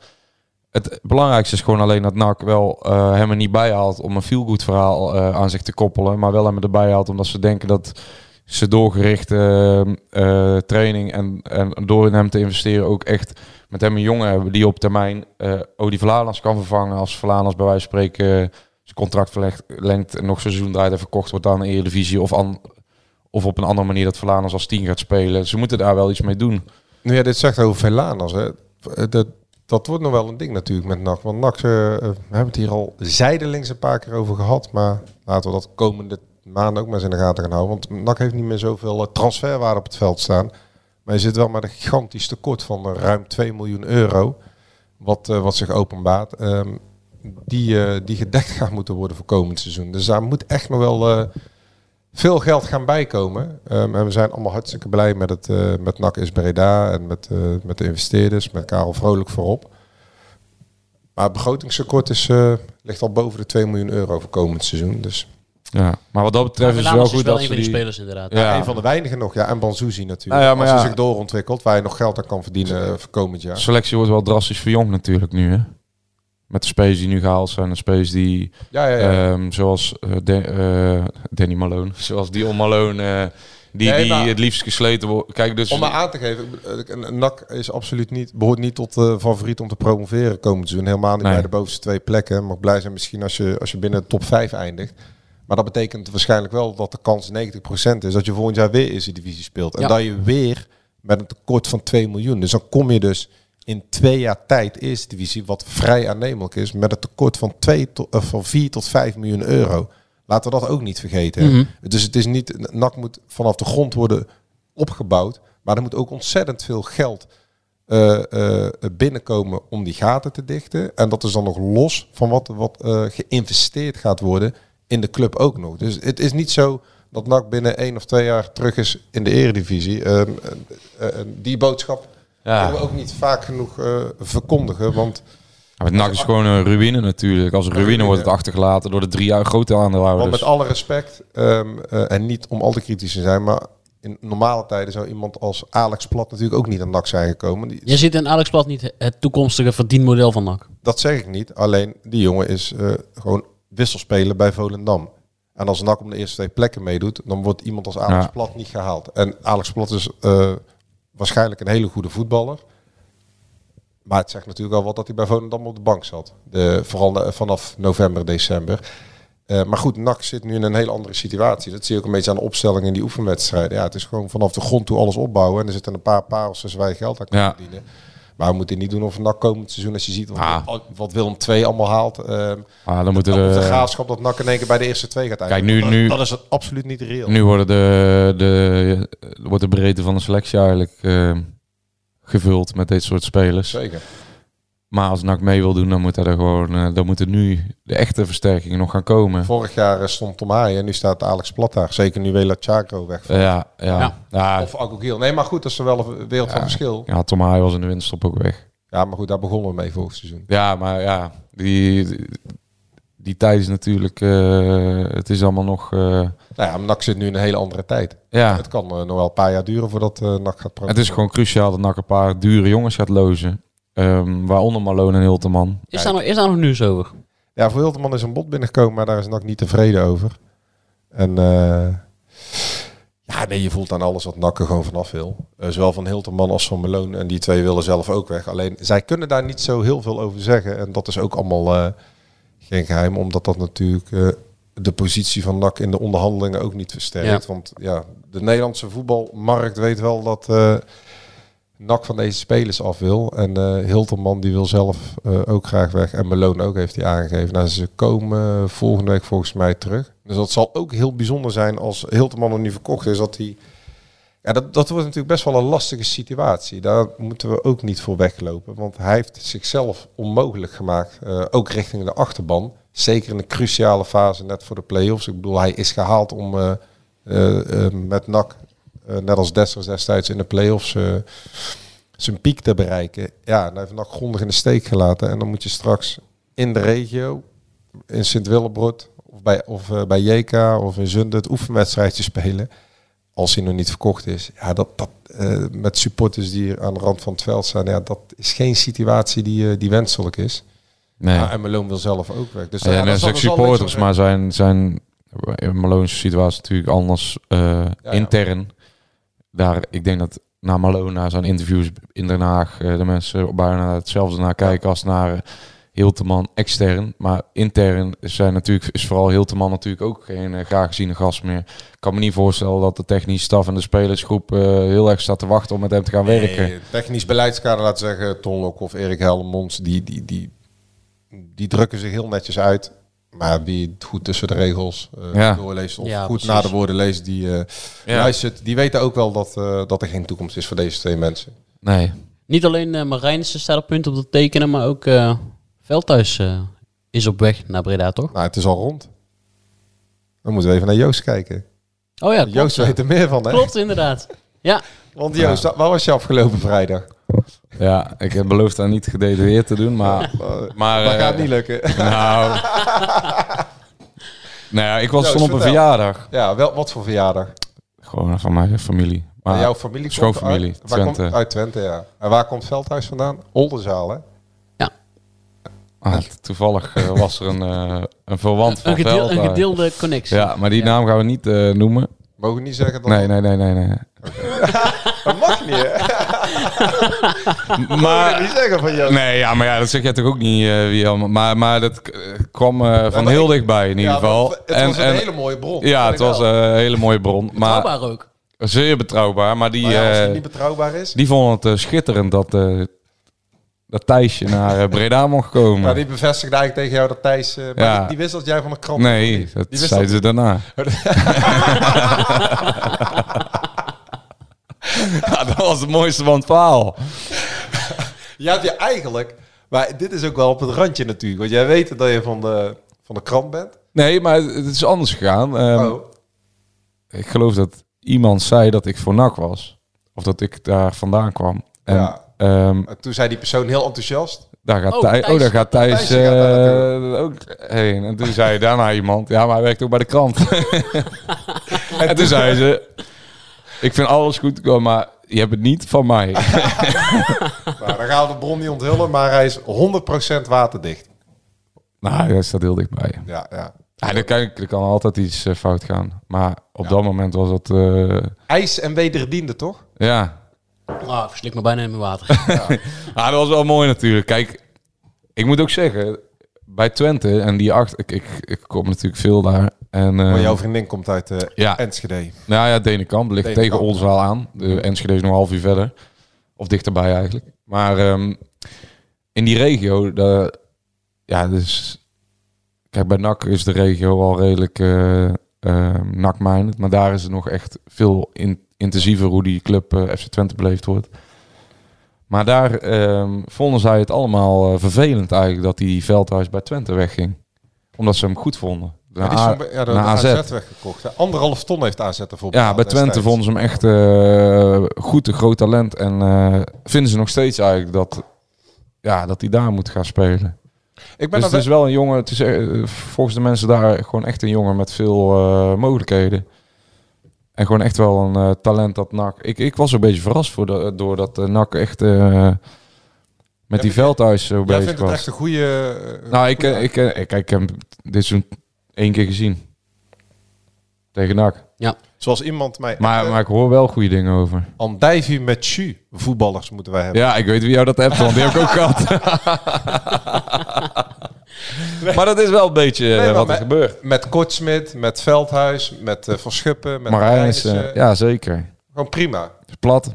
S7: Het belangrijkste is gewoon alleen dat NAC wel eh, hem er niet bij haalt om een feelgood verhaal eh, aan zich te koppelen. Maar wel hem erbij haalt omdat ze denken dat ze doorgerichte eh, eh, training en, en door in hem te investeren ook echt met hem een jongen hebben die op termijn eh Odi Vlaanders kan vervangen als Vlaanders bij wijze van spreken eh, zijn contract verlengt- verlengt en nog seizoen draait en verkocht wordt aan de Eredivisie of, aan, of op een andere manier dat Vlaanders als 10 gaat spelen. Ze moeten daar wel iets mee doen.
S8: Nu ja, dit zegt over Velaners. Hè. eh, Dat, dat wordt nog wel een ding natuurlijk met NAC. Want NAC, eh, eh, we hebben het hier al zijdelings een paar keer over gehad. Maar laten we dat komende maanden ook maar eens in de gaten gaan houden. Want NAC heeft niet meer zoveel eh, transferwaarde op het veld staan. Maar je zit wel met een gigantisch tekort van eh, ruim 2 miljoen euro. Wat, eh, wat zich openbaart. ehm, die, eh, die gedekt gaan moeten worden voor komend seizoen. Dus daar moet echt nog wel... eh, veel geld gaan bijkomen. Ehm, en we zijn allemaal hartstikke blij met, het, eh, met NAC is Breda en met, eh, met de investeerders, met Karel Vrolijk voorop. Maar het begrotingstekort is, eh, ligt al boven de 2 miljoen euro voor komend seizoen. Dus
S7: Ja. Maar wat dat betreft is het wel
S6: Vlaanders is
S7: goed
S6: wel
S7: dat
S6: een
S7: ze
S6: van die
S7: die...
S6: spelers inderdaad.
S7: Ja.
S8: een van de weinigen nog. Ja, en Banzuzi natuurlijk.
S7: Nou ja, maar
S8: Als hij
S7: ja.
S8: zich doorontwikkelt, waar je nog geld aan kan verdienen eh, voor komend jaar.
S7: selectie wordt wel drastisch verjongd natuurlijk nu. Hè? Met de spelers die nu gehaald zijn. De spelers die,
S8: Ja, ja, ja.
S7: ehm, zoals eh, Dan- eh, Danny Malone, zoals Dion Malone, eh, die,
S8: Nee,
S7: die
S8: maar-
S7: het liefst gesleten wordt. Kijk, dus...
S8: om maar aan te geven, ik bedo- eh, een- een NAC is absoluut niet, behoort niet tot de favoriet om te promoveren komend seizoen. Helemaal niet
S7: Nee.
S8: bij de bovenste twee plekken. Je Mag blij zijn misschien als je, als je binnen de top 5 eindigt. Maar dat betekent waarschijnlijk wel dat de kans 90% is dat je volgend jaar weer Eerste Divisie speelt. En
S6: Ja.
S8: dat je weer met een tekort van 2 miljoen. Dus dan kom je dus in twee jaar tijd Eerste Divisie, wat vrij aannemelijk is, met een tekort van, twee tot, eh, van 4 tot 5 miljoen euro. Laten we dat ook niet vergeten. Dus het is niet, NAC moet vanaf de grond worden opgebouwd. Maar er moet ook ontzettend veel geld eh, eh, binnenkomen om die gaten te dichten. En dat is dan nog los van wat, wat eh, geïnvesteerd gaat worden in de club ook nog. Dus het is niet zo dat NAC binnen één of twee jaar terug is in de eredivisie. Ehm, eh, eh, die boodschap
S7: Ja.
S8: kunnen we ook niet vaak genoeg eh, verkondigen. Want,
S7: Ja, maar het NAC is gewoon een ruïne natuurlijk. Als een ruïne wordt het achtergelaten door de drie jaar grote
S8: want
S7: aandeelhouders.
S8: met alle respect, ehm, eh, en niet om al te kritisch te zijn, maar in normale tijden zou iemand als Alex Plat natuurlijk ook niet aan NAC zijn gekomen. Die,
S6: Je ziet in Alex Plat niet het toekomstige verdienmodel van NAC.
S8: Dat zeg ik niet. Alleen die jongen is eh, gewoon wisselspeler bij Volendam. En als NAC om de eerste twee plekken meedoet, dan wordt iemand als Alex
S7: Ja.
S8: Plat niet gehaald. En Alex Plat is eh, waarschijnlijk een hele goede voetballer. Maar het zegt natuurlijk wel wat dat hij bij Volendam op de bank zat. De, vooral na- vanaf november, december. Eh, maar goed, NAC zit nu in een hele andere situatie. Dat zie je ook een beetje aan de opstelling in die oefenwedstrijden. Ja, het is gewoon vanaf de grond toe alles opbouwen. En er zitten een paar parels tussen waar je geld aan kan
S7: Ja.
S8: verdienen. Maar we moeten niet doen of NAC komend seizoen, als je ziet wat,
S7: Ah.
S8: wat Willem II allemaal haalt. ehm
S7: Ah, dan moeten
S8: of de
S7: de,
S8: graafschap dat NAC in één keer bij de eerste twee gaat eindigen.
S7: nu-
S8: dat,
S7: nu-
S8: dat is het absoluut niet reëel.
S7: nu worden de, de, wordt de breedte van de selectie eigenlijk eh, gevuld met dit soort spelers.
S8: Zeker.
S7: Maar als NAC mee wil doen, dan moet er gewoon, eh, dan moeten nu de echte versterkingen nog gaan komen.
S8: Vorig jaar eh, stond Tom Haaien en nu staat Alex Plat daar. Zeker nu Wela Chacro weg.
S7: Eh, ja, ja.
S6: Ja.
S7: ja.
S8: Of Agogiel. Nee, maar goed, dat is er wel een wereld van
S7: Ja.
S8: verschil.
S7: ja, Tom Haaien was in de winterstop ook weg.
S8: Ja, maar goed, daar begonnen we mee vorig seizoen.
S7: Ja, maar ja, die, die, die tijd is natuurlijk, eh, het is allemaal nog, eh,
S8: Nou ja, maar NAC zit nu in een hele andere tijd.
S7: ja.
S8: Het kan eh, nog wel een paar jaar duren voordat eh NAC gaat
S7: Het is gewoon cruciaal dat NAC een paar dure jongens gaat lozen. Ehm, waaronder Malone en Hilteman.
S6: Is daar, nog, is daar nog nieuws over?
S8: Ja, voor Hilterman is een bod binnengekomen, maar daar is NAC niet tevreden over. En eh, ja, nee, je voelt aan alles wat NAC er gewoon vanaf wil. Eh, zowel van Hilterman als van Meloon. En die twee willen zelf ook weg. Alleen, zij kunnen daar niet zo heel veel over zeggen. En dat is ook allemaal eh, geen geheim, omdat dat natuurlijk... eh, de positie van NAC in de onderhandelingen ook niet versterkt. Want ja, de Nederlandse voetbalmarkt weet wel dat eh NAC van deze spelers af wil. En eh Hilterman die wil zelf eh, ook graag weg. En Malone ook heeft hij aangegeven. Nou, ze komen eh, volgende week volgens mij terug. Dus dat zal ook heel bijzonder zijn als Hilterman er nu verkocht is. Dat hij... Ja, dat, dat wordt natuurlijk best wel een lastige situatie. Daar moeten we ook niet voor weglopen. Want hij heeft zichzelf onmogelijk gemaakt. eh, ook richting de achterban. Zeker in de cruciale fase net voor de play-offs. Ik bedoel, hij is gehaald om eh, eh, eh, met NAC, eh, net als Dessers destijds in de play-offs... eh, zijn piek te bereiken. Ja, en hij heeft NAC grondig in de steek gelaten. En dan moet je straks in de regio, in Sint-Willebrod of bij, of, eh, bij JK of in Zunde het oefenwedstrijdje spelen. Als hij nog niet verkocht is. Ja, dat, dat, eh, met supporters die hier aan de rand van het veld staan. Ja, dat is geen situatie die, eh, die wenselijk is.
S7: Nee.
S8: Ja, en Malone wil zelf ook weg. Dus
S7: Ja,
S8: ja,
S7: en
S8: daar
S7: dat
S8: zal
S7: zijn ook
S8: dus wel
S7: supporters,
S8: niks
S7: maar zijn, zijn Malone's situatie is natuurlijk anders eh, intern. Daar, ik denk dat na Malone, na zijn interviews in Den Haag, eh, de mensen bijna hetzelfde naar kijken als naar eh, Hilteman extern. Maar intern zijn natuurlijk, is vooral Hilteman natuurlijk ook geen eh, graag geziene gast meer. Ik kan me niet voorstellen dat de technische staf en de spelersgroep eh, heel erg staat te wachten om met hem te gaan werken.
S8: Nee, technisch beleidskader, laat zeggen, Ton Lok of Erik Helmonds, die, die, die, die drukken zich heel netjes uit. Maar wie het goed tussen de regels eh,
S7: Ja.
S8: doorleest of
S6: Ja,
S8: goed
S6: precies.
S8: naar de woorden leest, die eh,
S7: Ja.
S8: luistert, die weten ook wel dat, eh, dat er geen toekomst is voor deze twee mensen.
S7: Nee.
S6: Niet alleen eh Marijnissen staat op punt om te tekenen, maar ook eh Veldhuis eh, is op weg naar Breda, toch?
S8: Nou, het is al rond. Dan moeten we even naar Joost kijken.
S6: Oh ja, klopt.
S8: Joost
S6: ja.
S8: weet er meer van, hè?
S6: Klopt, inderdaad. Ja,
S8: Want Joost, waar was je afgelopen vrijdag?
S7: Eh, Ja, ik heb beloofd daar niet gedetailleerd te doen, maar... maar
S8: dat
S7: eh,
S8: gaat niet lukken.
S7: Nou. nou ja, ik was
S8: Joost,
S7: toen op een
S8: vertel.
S7: verjaardag.
S8: ja, wel, wat voor verjaardag?
S7: Gewoon van mijn familie. Maar
S8: jouw familie komt
S7: Ah, schoonfamilie,
S8: uit, waar komt-
S7: Twente.
S8: uit Twente, ja. En waar komt Veldhuis vandaan? Oldenzaal, hè?
S7: ah, toevallig eh, was er een, eh, een verwant van
S6: een, gedeel-
S7: Veldhuis.
S6: een gedeelde connectie.
S7: Ja, maar die naam gaan we niet eh, noemen.
S8: Mogen we niet zeggen dat...
S7: Nee, nee, nee, nee. nee.
S8: Dat mag niet, hè? Oh.
S7: maar...
S8: Niet zeggen van Joost.
S7: Nee, ja, maar ja, dat zeg jij toch ook niet, eh, wie allemaal. Maar, maar dat eh, kwam eh, van
S8: maar
S7: heel
S8: ik-
S7: dichtbij in ieder
S8: Ja,
S7: geval.
S8: want Het was een hele mooie bron.
S7: Ja, het was eh, een hele mooie bron. Maar
S6: Betrouwbaar ook.
S7: zeer betrouwbaar. Maar die,
S8: Maar ja, als het
S7: eh,
S8: niet betrouwbaar is...
S7: Die vonden het eh, schitterend dat, eh, dat Thijsje naar eh, Breda mocht komen.
S8: Maar die bevestigde eigenlijk tegen jou dat Thijs... eh, maar
S7: Ja.
S8: die, die wist dat jij van de krant...
S7: Nee, dat
S8: Die wist
S7: zeiden ze daarna. ja, dat was het mooiste van het verhaal.
S8: Je hebt je eigenlijk... Maar dit is ook wel op het randje natuurlijk. Want jij weet dat je van de, van de krant bent.
S7: Nee, maar het is anders gegaan. Ehm,
S8: oh.
S7: Ik geloof dat iemand zei dat ik voor NAC was. Of dat ik daar vandaan kwam. En
S8: Ja.
S7: ehm,
S8: En Toen zei die persoon heel enthousiast.
S7: daar gaat
S6: Oh,
S7: Thij-
S6: Thijs-
S7: oh, daar gaat Thijs,
S8: Thijsje gaat daar
S7: eh, ook heen. En toen zei daarna iemand, ja, maar hij werkt ook bij de krant. en toen zei ze, ik vind alles goed, komen, maar je hebt het niet van mij.
S8: Nou, dan gaan we de bron niet onthullen, maar hij is 100% waterdicht.
S7: nou, dat staat heel dichtbij.
S8: Ja, ja.
S7: Ja, er, kan, er kan altijd iets eh, fout gaan. Maar op dat moment was dat, eh,
S8: IJs en wederdiende, toch?
S7: ja.
S6: Ah, verslik me bijna in mijn water.
S7: Ah, dat was wel mooi natuurlijk. Kijk, ik moet ook zeggen, bij Twente en die acht, ik, ik, ik kom natuurlijk veel daar. En, eh,
S8: Maar jouw vriendin komt uit eh,
S7: Ja.
S8: Enschede.
S7: Nou ja, Denenkamp ligt
S8: Denenkamp.
S7: tegen ons wel aan.
S8: Mhm.
S7: De Enschede is nog een half uur verder. Of dichterbij eigenlijk. Maar ehm, in die regio, de, ja, dus... Kijk, bij NAC is de regio al redelijk eh eh, NAC-minded. Maar daar is het nog echt veel in- intensiever hoe die club eh, FC Twente beleefd wordt. Maar daar ehm, vonden zij het allemaal eh, vervelend eigenlijk dat die Veldhuis bij Twente wegging. Omdat ze hem goed vonden.
S8: Maar die is
S7: Naar
S8: van- ja, de,
S7: naar
S8: de AZ. weggekocht. hè. Anderhalf ton heeft AZ ervoor
S7: ja,
S8: betaald
S7: bij Twente
S8: destijds.
S7: vonden ze hem echt eh, goed, een groot talent. En eh, vinden ze nog steeds eigenlijk dat, ja, dat hij daar moet gaan spelen.
S8: Ik ben
S7: Dus
S8: er
S7: het is wel een jongen, het is eh, volgens de mensen daar gewoon echt een jongen met veel eh, mogelijkheden. En gewoon echt wel een eh, talent dat NAC... Ik, ik was een beetje verrast voor de, door dat eh, NAC echt eh, met die
S8: vindt-
S7: Veldhuis zo
S8: Jij
S7: bezig
S8: vindt het
S7: was.
S8: echt een goede... eh,
S7: Nou, ik, eh, ik, eh, ik, ik heb hem dit seizoen één keer gezien. Tegen NAC.
S8: Zoals iemand mij...
S7: Maar,
S8: eh,
S7: maar ik hoor wel goede dingen over.
S8: Andijvie met jus voetballers moeten wij hebben.
S7: Ja, ik weet wie jou dat hebt, want die heb ik ook gehad. maar dat is wel een beetje eh,
S8: Nee, maar
S7: wat er
S8: met-
S7: gebeurt.
S8: Met Kortsmit, met Veldhuis, met eh, Van Schuppen, met
S7: Marijn is,
S8: Marijnissen.
S7: eh, ja zeker.
S8: Gewoon prima.
S7: Is plat.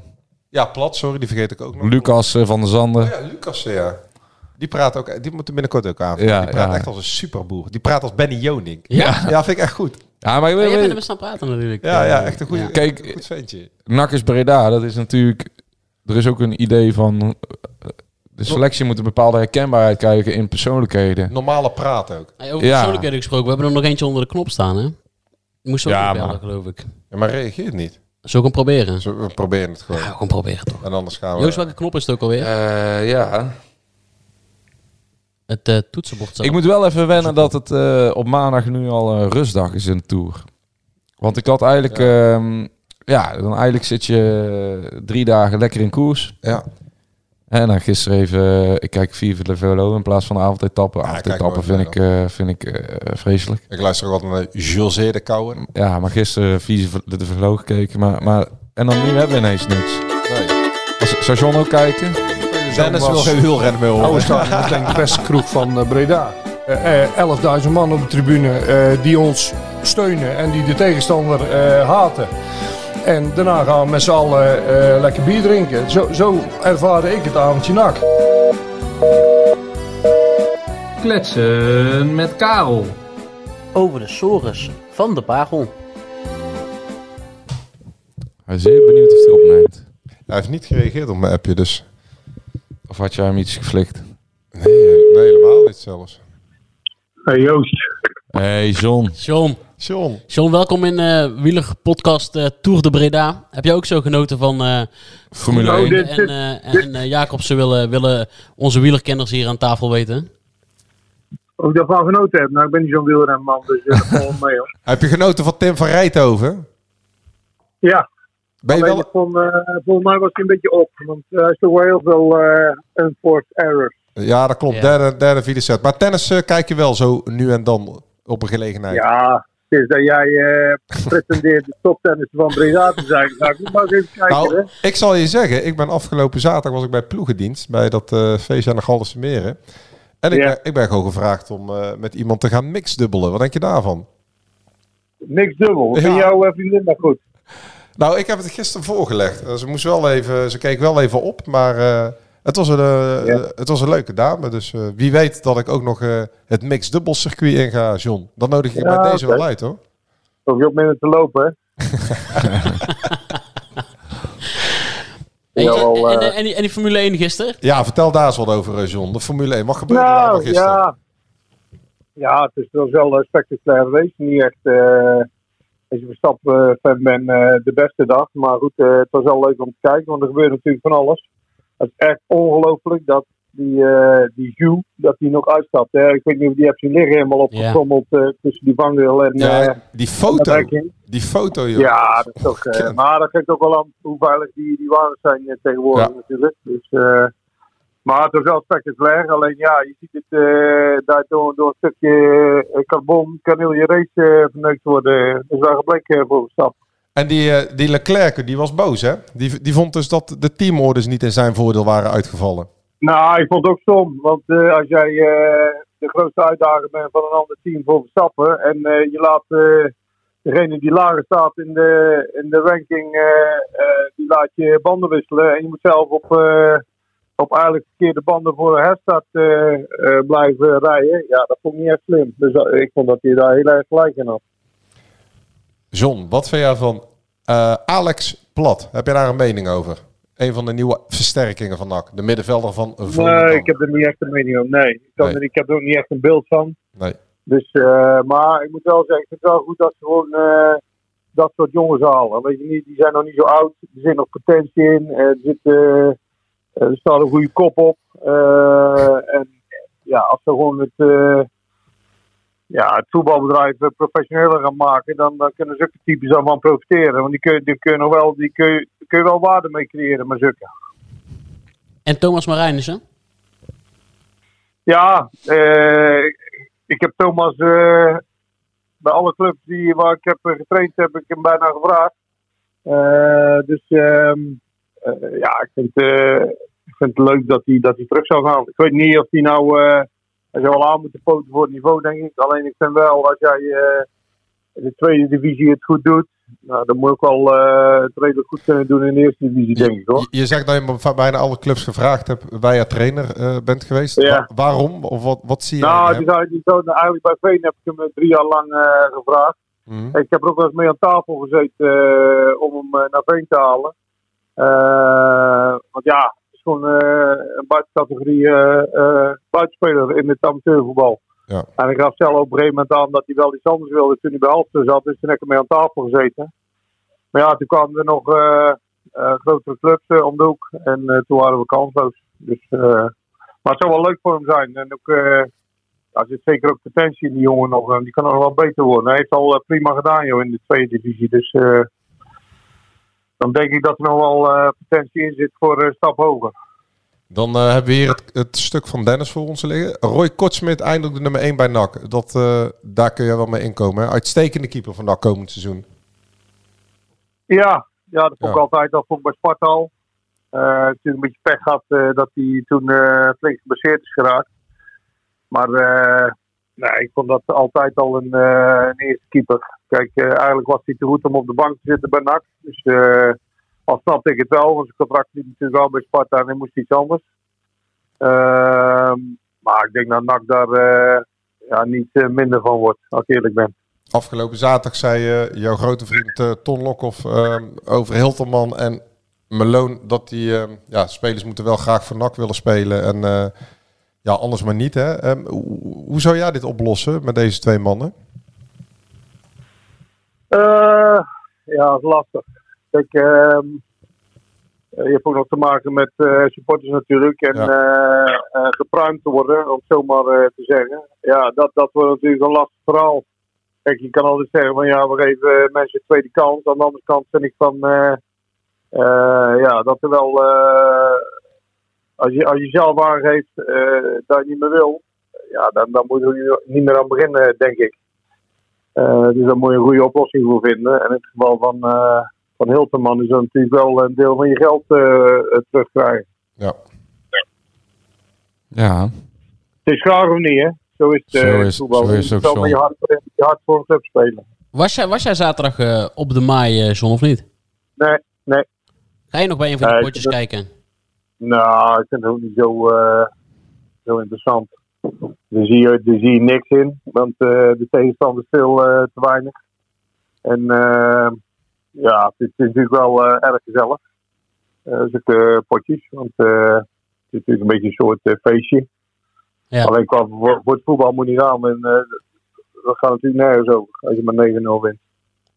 S8: Ja, Plat, sorry, die vergeet ik ook nog.
S7: Lucas eh, van der Zanden.
S8: Oh Ja, Lucas, eh, ja. Die praat ook, die moeten binnenkort ook aan.
S7: Ja,
S8: die praat
S7: ja.
S8: echt als een superboer. Die praat als Benny Joning.
S6: Ja?
S8: Ja, vind ik echt goed.
S7: Ja, maar je
S6: Maar
S7: weet-
S6: jij bent er
S7: weet-
S6: best aan het praten natuurlijk.
S8: Ja,
S6: Eh,
S8: ja, echt een goede,
S6: ja.
S7: Kijk,
S8: een goed ventje.
S7: NAC is Breda, dat is natuurlijk... Er is ook een idee van... eh, De selectie moet een bepaalde herkenbaarheid krijgen in persoonlijkheden.
S8: Normale praat ook.
S6: Hey, over
S7: Ja.
S6: persoonlijkheden gesproken, we hebben er nog eentje onder de knop staan, hè? Moest ook
S7: Ja,
S6: ja, bellen,
S7: maar-
S6: geloof ik.
S8: Ja, maar reageert niet.
S6: Zullen we hem proberen?
S8: Dus we, we proberen het
S6: Ja,
S8: gewoon.
S6: gewoon proberen toch.
S8: En anders
S7: Oh,
S8: gaan we...
S6: Joost, welke knop is het ook alweer?
S7: Eh, ja.
S6: het eh, toetsenbord.
S7: Ik moet wel even wennen dat het eh, op maandag nu al een rustdag is in de Tour. Want ik had eigenlijk... ehm, ja, dan eigenlijk zit je eh, drie dagen lekker in koers.
S8: Ja.
S7: En En dan gisteren even, eh, ik kijk Viva de Velo in plaats van de avondetappen.
S8: ik kijk
S7: avondetappen
S8: nooit
S7: vind ik, eh, vind ik eh, vreselijk.
S8: Ik luister ook altijd naar José de Kouwer.
S7: Ja, maar gisteren Viva de Velo gekeken. Maar, maar, en dan nu hebben we ineens niks.
S8: Nee.
S7: Als- Zou John ook kijken?
S8: Dennis wil geen wielrennen meer horen.
S9: Oh, is dat dat denk ik de beste kroeg van eh, Breda. Eh, eh, 11.000 man op de tribune eh, die ons steunen en die de tegenstander eh, haten. En daarna gaan we met z'n allen eh, lekker bier drinken. Zo, zo ervaarde ik het avondje nak.
S10: Kletsen met Karel.
S6: Over de sores van de Pagel.
S7: Ik ben zeer benieuwd of hij opneemt.
S8: Hij heeft niet gereageerd op mijn appje, dus...
S7: Of had jij hem iets geflikt?
S8: Nee, nee, helemaal niet zelfs.
S11: Hey Joost,
S7: Hé, hey, John.
S6: John,
S8: John.
S6: John welkom in eh Wielig Podcast eh, Tour de Breda. Heb jij ook zo genoten van eh
S7: Formule
S11: Nou,
S7: 1.
S11: dit-
S6: en, eh en eh, Jacobsen willen, willen onze wielerkenners hier aan tafel weten?
S11: of ik daarvan genoten heb. Nou, ik ben niet zo'n wielrenman, dus eh, dat valt wel mee hoor.
S8: Heb je genoten van Tim van Rijthoven?
S11: Ja,
S8: Ben je
S11: alleen
S8: wel...
S11: ik vond, eh, volgens mij was hij een beetje op. Want eh, hij is toch wel heel veel eh unforced errors.
S8: Ja, dat klopt.
S6: Ja.
S8: Derde, derde, vierde set. Maar tennis eh, kijk je wel zo nu en dan op een gelegenheid.
S11: Ja, het is dat jij eh, pretendeert de toptennis van Breda te zijn. Nou, ik moet maar eens even kijken hè.
S8: Nou, ik zal je zeggen, ik ben afgelopen zaterdag was ik bij ploegendienst bij dat eh feestje aan de Galderse Meren. En ik,
S11: Ja.
S8: ben, ik ben gewoon gevraagd om eh, met iemand te gaan mixdubbelen. Wat denk je daarvan?
S11: Niks dubbel. Vind
S8: Ja.
S11: jouw eh, vriendin maar goed?
S8: Nou, ik heb het gisteren voorgelegd. Eh, ze moest wel even, ze keek wel even op, maar eh, het, was een, eh,
S11: Ja.
S8: het was een leuke dame. Dus eh, wie weet dat ik ook nog eh, het mixdubbel circuit in ga, John. Dan nodig je
S11: Ja,
S8: bij deze
S11: oké.
S8: wel uit, hoor.
S11: Hoef je ook minder te lopen hè?
S6: En,
S11: Jawel,
S6: en,
S11: eh.
S6: en, en die, en die Formule 1 gisteren?
S8: Ja, vertel daar eens wat over, eh, John. De Formule 1, wat gebeurde daar nog
S11: Nou,
S8: gisteren?
S11: ja. Ja, het is wel wel eh, spectaculair geweest. Niet echt, eh, als je Verstappen-fan bent, eh, de beste dag. Maar goed, eh, het was wel leuk om te kijken, want er gebeurt natuurlijk van alles. Het is echt ongelooflijk dat die, eh die Jules, dat die nog uitstapt. Hè. Ik weet niet of die hebt zien liggen, helemaal opgetrommeld eh, tussen die vangrail en...
S8: Ja,
S11: eh,
S8: die
S11: dat
S8: foto.
S11: rekking.
S8: Die foto, joh.
S11: Ja, dat is toch. eh,
S8: Ja.
S11: maar dat geeft ook wel aan hoe veilig die, die wagens zijn eh, tegenwoordig
S8: Ja.
S11: natuurlijk. Dus, eh, maar het was wel spectaculair. Alleen ja, je ziet het eh, daar door, door een stukje eh, carbon kan heel je race eh, verneukt worden. Dat is wel gebleken eh, voor Verstappen.
S8: En die, eh, die Leclerc, die was boos, hè? Die, die vond dus dat de teamorders niet in zijn voordeel waren uitgevallen.
S11: Nou, ik vond het ook stom. Want eh, als jij eh, de grootste uitdager bent van een ander team voor Verstappen. En eh, je laat eh, degene die lager staat in de, in de ranking, eh, eh, die laat je banden wisselen. En je moet zelf op, eh, op eigenlijk verkeerde banden voor de herstart eh, eh, blijven rijden. Ja, dat vond ik niet echt slim. Dus dat- ik vond dat hij daar heel erg gelijk in had.
S8: John, wat vind jij van eh, Alex Plat? Heb je daar een mening over? Een van de nieuwe versterkingen van NAC. De middenvelder van Volendam.
S11: Nee, ik heb er niet echt een mening over. Nee, ik, kan
S8: Nee.
S11: er- ik heb er ook niet echt een beeld van.
S8: Nee.
S11: Dus, eh, maar ik moet wel zeggen, ik vind het wel goed dat ze gewoon eh, dat soort jongens halen. Weet je niet, die zijn nog niet zo oud, er zit nog potentie in, eh, er, zit, eh, er staat een goede kop op. Eh, en ja, als ze gewoon het, eh, ja, het voetbalbedrijf eh, professioneler gaan maken, dan, dan kunnen zulke types daarvan profiteren. Want die kun, je- die kun je nog wel, die kun je, daar kun je wel waarde mee creëren, maar zulke.
S6: En Thomas Marijnissen?
S11: Ja, eh, ik heb Thomas eh, bij alle clubs die, waar ik heb eh, getraind, heb ik hem bijna gevraagd. Eh, dus ehm, eh, ja, ik vind, eh, ik vind het leuk dat hij, dat hij terug zou gaan. Ik weet niet of hij nou. eh, hij zou wel aan moeten poten voor het niveau, denk ik. Alleen ik vind wel, als jij eh, in de tweede divisie het goed doet, nou, dan moet ik wel eh, het redelijk goed kunnen doen in de eerste divisie, denk ik hoor.
S8: Je, je zegt dat je van bijna alle clubs gevraagd hebt waar je trainer eh, bent geweest.
S11: Ja.
S8: Wa- waarom? Of wat, wat zie je?
S11: Nou,
S8: in
S11: die
S8: hem?
S11: zou, die zou, eigenlijk bij Veen heb ik hem eh, drie jaar lang eh, gevraagd.
S8: Mhm.
S11: Ik heb er ook wel eens mee aan tafel gezeten eh, om hem eh, naar Veen te halen. Eh, want ja, het is gewoon eh, een buitencategorie eh eh, buitenspeler in het amateurvoetbal.
S8: Ja.
S11: En ik gaf zelf op een gegeven moment aan dat hij wel iets anders wilde toen hij bij Halster zat. Dus toen heb ik hem mee aan tafel gezeten. Maar ja, toen kwamen er nog eh, eh, grotere clubs eh, om de hoek. En eh, toen waren we kansloos. Dus, eh, maar het zou wel leuk voor hem zijn. En ook... eh, ja, er zit zeker ook potentie in die jongen nog. En die kan nog wel beter worden. Hij heeft al eh, prima gedaan joh, in de tweede divisie. Dus eh, eh, dan denk ik dat er nog wel eh, potentie in zit voor een stap hoger.
S8: Dan eh, hebben we hier het, het stuk van Dennis voor ons liggen. Roy Kortsmit eindelijk de nummer 1 bij NAC. Dat, eh, daar kun je wel mee inkomen. Hè? Uitstekende keeper van NAC komend seizoen.
S11: Ja, ja dat vond ik
S8: Ja.
S11: altijd. Dat vond ik bij Sparta al. Eh, natuurlijk een beetje pech gehad eh, dat hij toen eh, flink geblesseerd is geraakt. Maar eh, nee, ik vond dat altijd al een, eh, een eerste keeper. Kijk, eh, eigenlijk was hij te goed om op de bank te zitten bij NAC. Dus eh, al snapte ik het wel, want zijn contract liep natuurlijk al bij Sparta en hij moest iets anders. Ehm, maar ik denk dat NAC daar eh, ja, niet eh, minder van wordt, als ik eerlijk ben.
S8: Afgelopen zaterdag zei eh, jouw grote vriend eh, Ton Lokhoff eh, over Hilterman en Meloon dat die eh, ja, spelers moeten wel graag voor NAC willen spelen. En eh, ja, anders maar niet. Hè? Ehm, hoe, hoe zou jij dit oplossen met deze twee mannen?
S11: Eh, ja, dat is lastig. Kijk, ehm, eh, je hebt ook nog te maken met eh, supporters natuurlijk. En
S10: Ja.
S11: eh, eh, gepruimd te worden, om het zo maar eh, te zeggen. Ja, dat, dat wordt natuurlijk een lastig verhaal. Kijk, je kan altijd zeggen van ja, we geven eh, mensen een tweede kans. Aan de andere kant vind ik van eh, eh, ja, dat er wel... eh, als, je, als je zelf aangeeft eh, dat je niet meer wil, ja, dan, dan moet je er niet meer aan beginnen, denk ik. Eh, dus daar moet je een goede oplossing voor vinden. En in het geval van, eh van Hilterman is dat natuurlijk wel een deel van je geld eh, eh, terugkrijgen.
S8: Ja.
S7: Ja.
S11: Het is graag of niet, hè? Zo is het eh,
S7: Zo is-
S11: voetbal.
S7: zo is het
S11: Je
S7: ook
S11: moet
S7: zo.
S11: wel met je hart, je hart voor een club spelen.
S6: Was jij, was jij zaterdag eh, op de maai, eh John, of niet?
S11: Nee, nee.
S6: Ga je nog bij een van die
S11: Nee,
S6: potjes
S11: Eh, dat-
S6: kijken?
S11: Nou, ik vind het ook niet zo, eh, zo interessant. Daar zie, je, daar zie je niks in, want eh, de tegenstander is veel eh, te weinig. En eh, ja, het is, het is natuurlijk wel eh, erg gezellig. Eh zulke potjes, want eh, het is natuurlijk een beetje een soort eh, feestje. Alleen qua voor, voor het voetbal moet je niet aan, en eh, dat gaat natuurlijk nergens over als je maar 9-0 wint.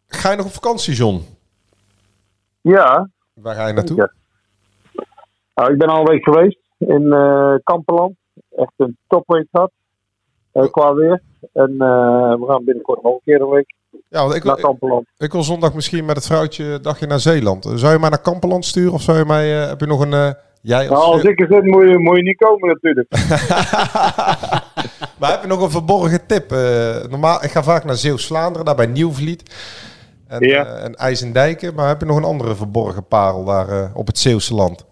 S8: Ga je nog op vakantie, John?
S11: Ja,
S8: Waar ga je naartoe?
S11: Nou, ik ben al een week geweest in eh Kamperland. Echt een topweek gehad. eh,
S8: Oh.
S11: qua weer. En eh, we gaan binnenkort nog een keer een week
S8: ja, want ik,
S11: naar Kamperland.
S8: Ik wil zondag misschien met het vrouwtje een dagje naar Zeeland. Eh, Zou je mij naar Kamperland sturen of zou je mij... eh, heb je nog een... eh, jij
S11: nou,
S8: als,
S11: als ik er zit, moet je, moet je niet komen natuurlijk.
S8: Maar heb je nog een verborgen tip? Eh, normaal, ik ga vaak naar Zeeuws-Vlaanderen, daar bij Nieuwvliet. En,
S11: Ja.
S8: eh, en IJsendijken. Maar heb je nog een andere verborgen parel daar eh, op het Zeeuwse land?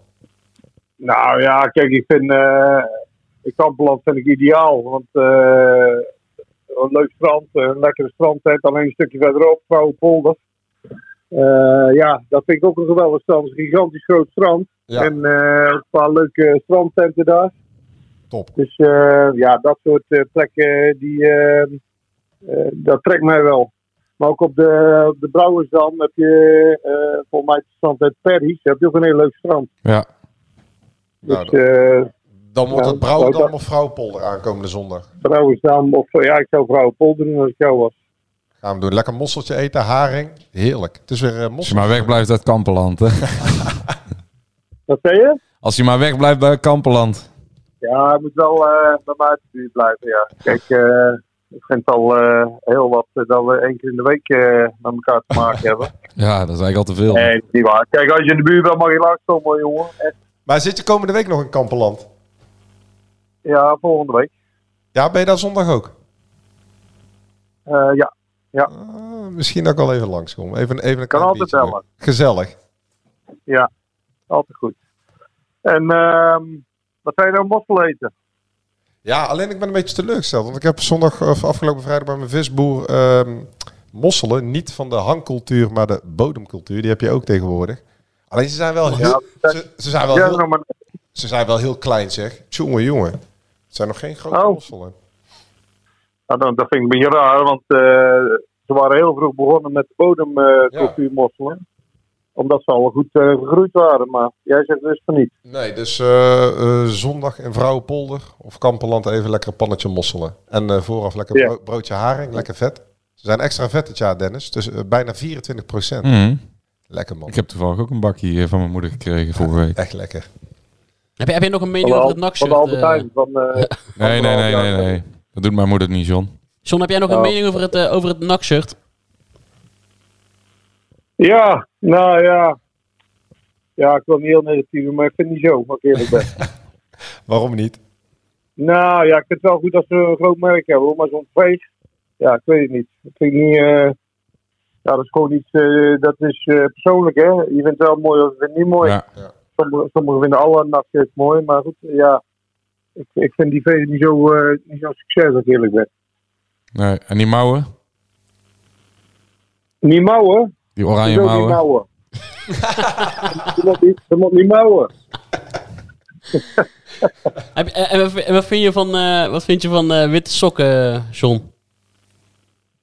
S11: Nou ja, kijk, ik vind eh Kamperland vind ik ideaal. Want eh, een leuk strand, een lekkere strandtent, alleen een stukje verderop, Vrouwen Polder. Eh, ja, dat vind ik ook een geweldig strand. Het is een gigantisch groot strand. En eh, een paar leuke strandtenten daar.
S8: Top.
S11: Dus eh, ja, dat soort eh, plekken, die, eh, eh, dat trekt mij wel. Maar ook op de, op de Brouwersdam heb je eh volgens mij het strand uit Perry's. Daar heb je ook een heel leuk strand.
S7: Ja.
S11: Dus,
S8: dan-
S11: eh,
S8: Nou, Dan wordt
S11: ja,
S8: het Brouwdam
S11: nou,
S8: of Vrouwpolder aankomende zondag.
S11: dat- Brouwersdam of eh, ja, ik zou Vrouwenpolder doen als ik jou was.
S8: Gaan we doen. Lekker mosseltje eten, haring. Heerlijk. Het is weer eh
S7: Als
S8: mossel.
S7: je maar weg blijft uit Kampeland. Hè?
S11: Wat zei je?
S7: Als je maar weg blijft bij Kampeland.
S11: Ja, hij moet wel eh, bij mij uit de buurt blijven, ja. Kijk, eh, ik vind het al eh, heel wat eh, dat we één keer in de week eh met elkaar te maken hebben.
S7: Ja, dat is eigenlijk al te veel.
S11: Nee, dat is niet waar. Kijk, als je in de buurt bent, mag je langskomen, jongen. Echt.
S8: Maar zit je komende week nog in Kamperland?
S11: Ja, volgende week.
S8: Ja, ben je daar zondag ook?
S11: Eh, ja, ja.
S8: Eh, Misschien dat ik al even langskom. Even, even een
S11: Kan
S8: klein
S11: altijd
S8: biertje
S11: bellen.
S8: doen. Gezellig.
S11: ja. Altijd goed. En ehm wat zijn nou mossel eten?
S8: Ja, alleen ik ben een beetje teleurgesteld. Want ik heb zondag of afgelopen vrijdag bij mijn visboer ehm, mosselen. Niet van de hangcultuur, maar de bodemcultuur. Die heb je ook tegenwoordig. Alleen ze zijn wel heel, ze, ze zijn wel
S11: Ja,
S8: heel,
S11: nou, maar-
S8: ze zijn wel heel klein, zeg. Jongen, jongen. Het zijn nog geen grote
S11: Oh.
S8: mosselen.
S11: Nou, dan- dat vind ik een beetje raar, want eh, ze waren heel vroeg begonnen met bodemcultuurmosselen. Omdat ze al goed eh, gegroeid waren, maar jij zegt dus van niet.
S8: Nee, dus eh, eh, zondag in Vrouwenpolder of Kamperland even lekker een pannetje mosselen. En eh, vooraf lekker
S11: Ja.
S8: bro- broodje haring, lekker vet. Ze zijn extra vet dit jaar, Dennis. Dus eh, bijna 24 procent.
S7: Mhm.
S8: Lekker man.
S7: Ik heb toevallig ook een bakje eh, van mijn moeder gekregen vorige week.
S8: Echt lekker.
S6: Heb, je- heb je nog een mening
S11: Van
S6: over
S11: Al-
S6: het
S11: van
S6: NAC-shirt?
S11: Albert
S6: eh?
S11: Heijn, van, eh,
S7: Nee, nee, nee, nee, nee. Dat doet mijn moeder niet, John.
S6: John, heb jij nog een
S11: Oh.
S6: mening over het, eh, over het NAC-shirt?
S11: Ja, nou ja. Ja, ik wil niet heel negatief, doen, maar ik vind het niet zo, wat ik eerlijk ben.
S8: Waarom niet?
S11: Nou ja, ik vind het wel goed dat ze een groot merk hebben, hoor. maar zo'n veeg, ja, ik weet het niet. Ik vind niet, eh, ja, dat is gewoon iets, eh, dat is eh, persoonlijk, hè. Je vindt het wel mooi of je vindt het niet mooi.
S7: Ja.
S11: Sommigen, sommigen vinden alle nachtjes mooi, maar goed, ja. Ik, ik vind die veeg niet zo, eh, niet zo'n succes, als ik eerlijk ben.
S7: Nee. En die mouwen?
S11: Niet mouwen.
S7: Die oranje
S11: Dat is ook niet
S7: mouwen?
S11: mouwen. dat, moet niet, dat moet niet mouwen.
S6: Heb- eh, En, wat- en wat vind je van, eh, wat vind je van eh, witte sokken, John?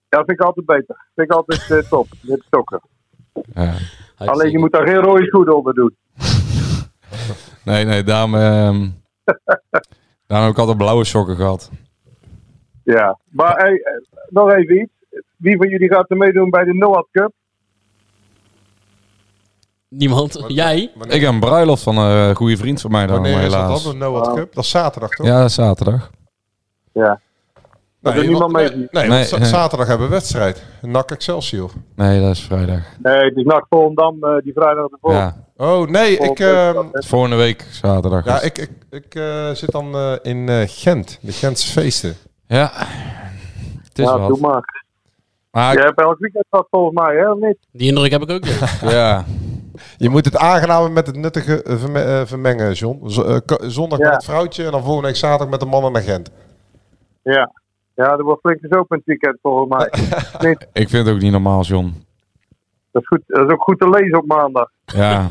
S11: Ja, dat vind ik altijd beter. Vind ik altijd eh, top, met stokken.
S7: Ja.
S11: Alleen je moet daar geen rode schoenen onder doen.
S7: Nee, nee, daarom, ehm, daarom heb ik altijd blauwe sokken gehad.
S11: Ja, maar hey, eh, nog even iets. Wie van jullie gaat er meedoen bij de Noah Cup?
S6: Niemand? Jij?
S7: Ik heb een bruiloft van een eh, goede vriend van mij dan,
S8: Wanneer is dat
S7: helaas.
S8: dan, de Noah
S11: Ah.
S8: Cup? Dat is zaterdag, toch?
S7: Ja, dat is zaterdag.
S11: Ja.
S8: Nee,
S11: doet niemand
S8: want-
S11: mee.
S8: Nee, nee,
S7: Nee,
S8: want za-
S7: nee.
S8: zaterdag hebben we wedstrijd. NAC Excelsior.
S7: Nee, dat is vrijdag.
S11: Nee, het is NAC Volendam eh, die vrijdag ervoor.
S7: Ja,
S8: Oh, nee, ik, ehm,
S7: het is volgende week zaterdag.
S8: ja, ik, ik, ik eh, zit dan eh, in eh, Gent. De Gentse feesten.
S7: Ja. Het is
S11: Ja, Nou, doe
S7: wat.
S11: maar.
S7: Maar
S11: Jij
S7: ik-
S11: hebt elk weekend dat volgens mij, hè? Of niet?
S6: Die indruk heb ik ook. ja.
S7: ja,
S8: Je moet het aangename met het nuttige eh, verme- eh, vermengen, John. Z- eh, k- zondag
S11: Ja.
S8: met het vrouwtje en dan volgende week zaterdag met de mannen naar Gent.
S11: Ja. Ja, er wordt flink gezopen in het weekend volgens mij.
S7: ik vind het ook niet normaal, John.
S11: Dat is, goed, dat is ook goed te lezen op maandag.
S7: Ja. ja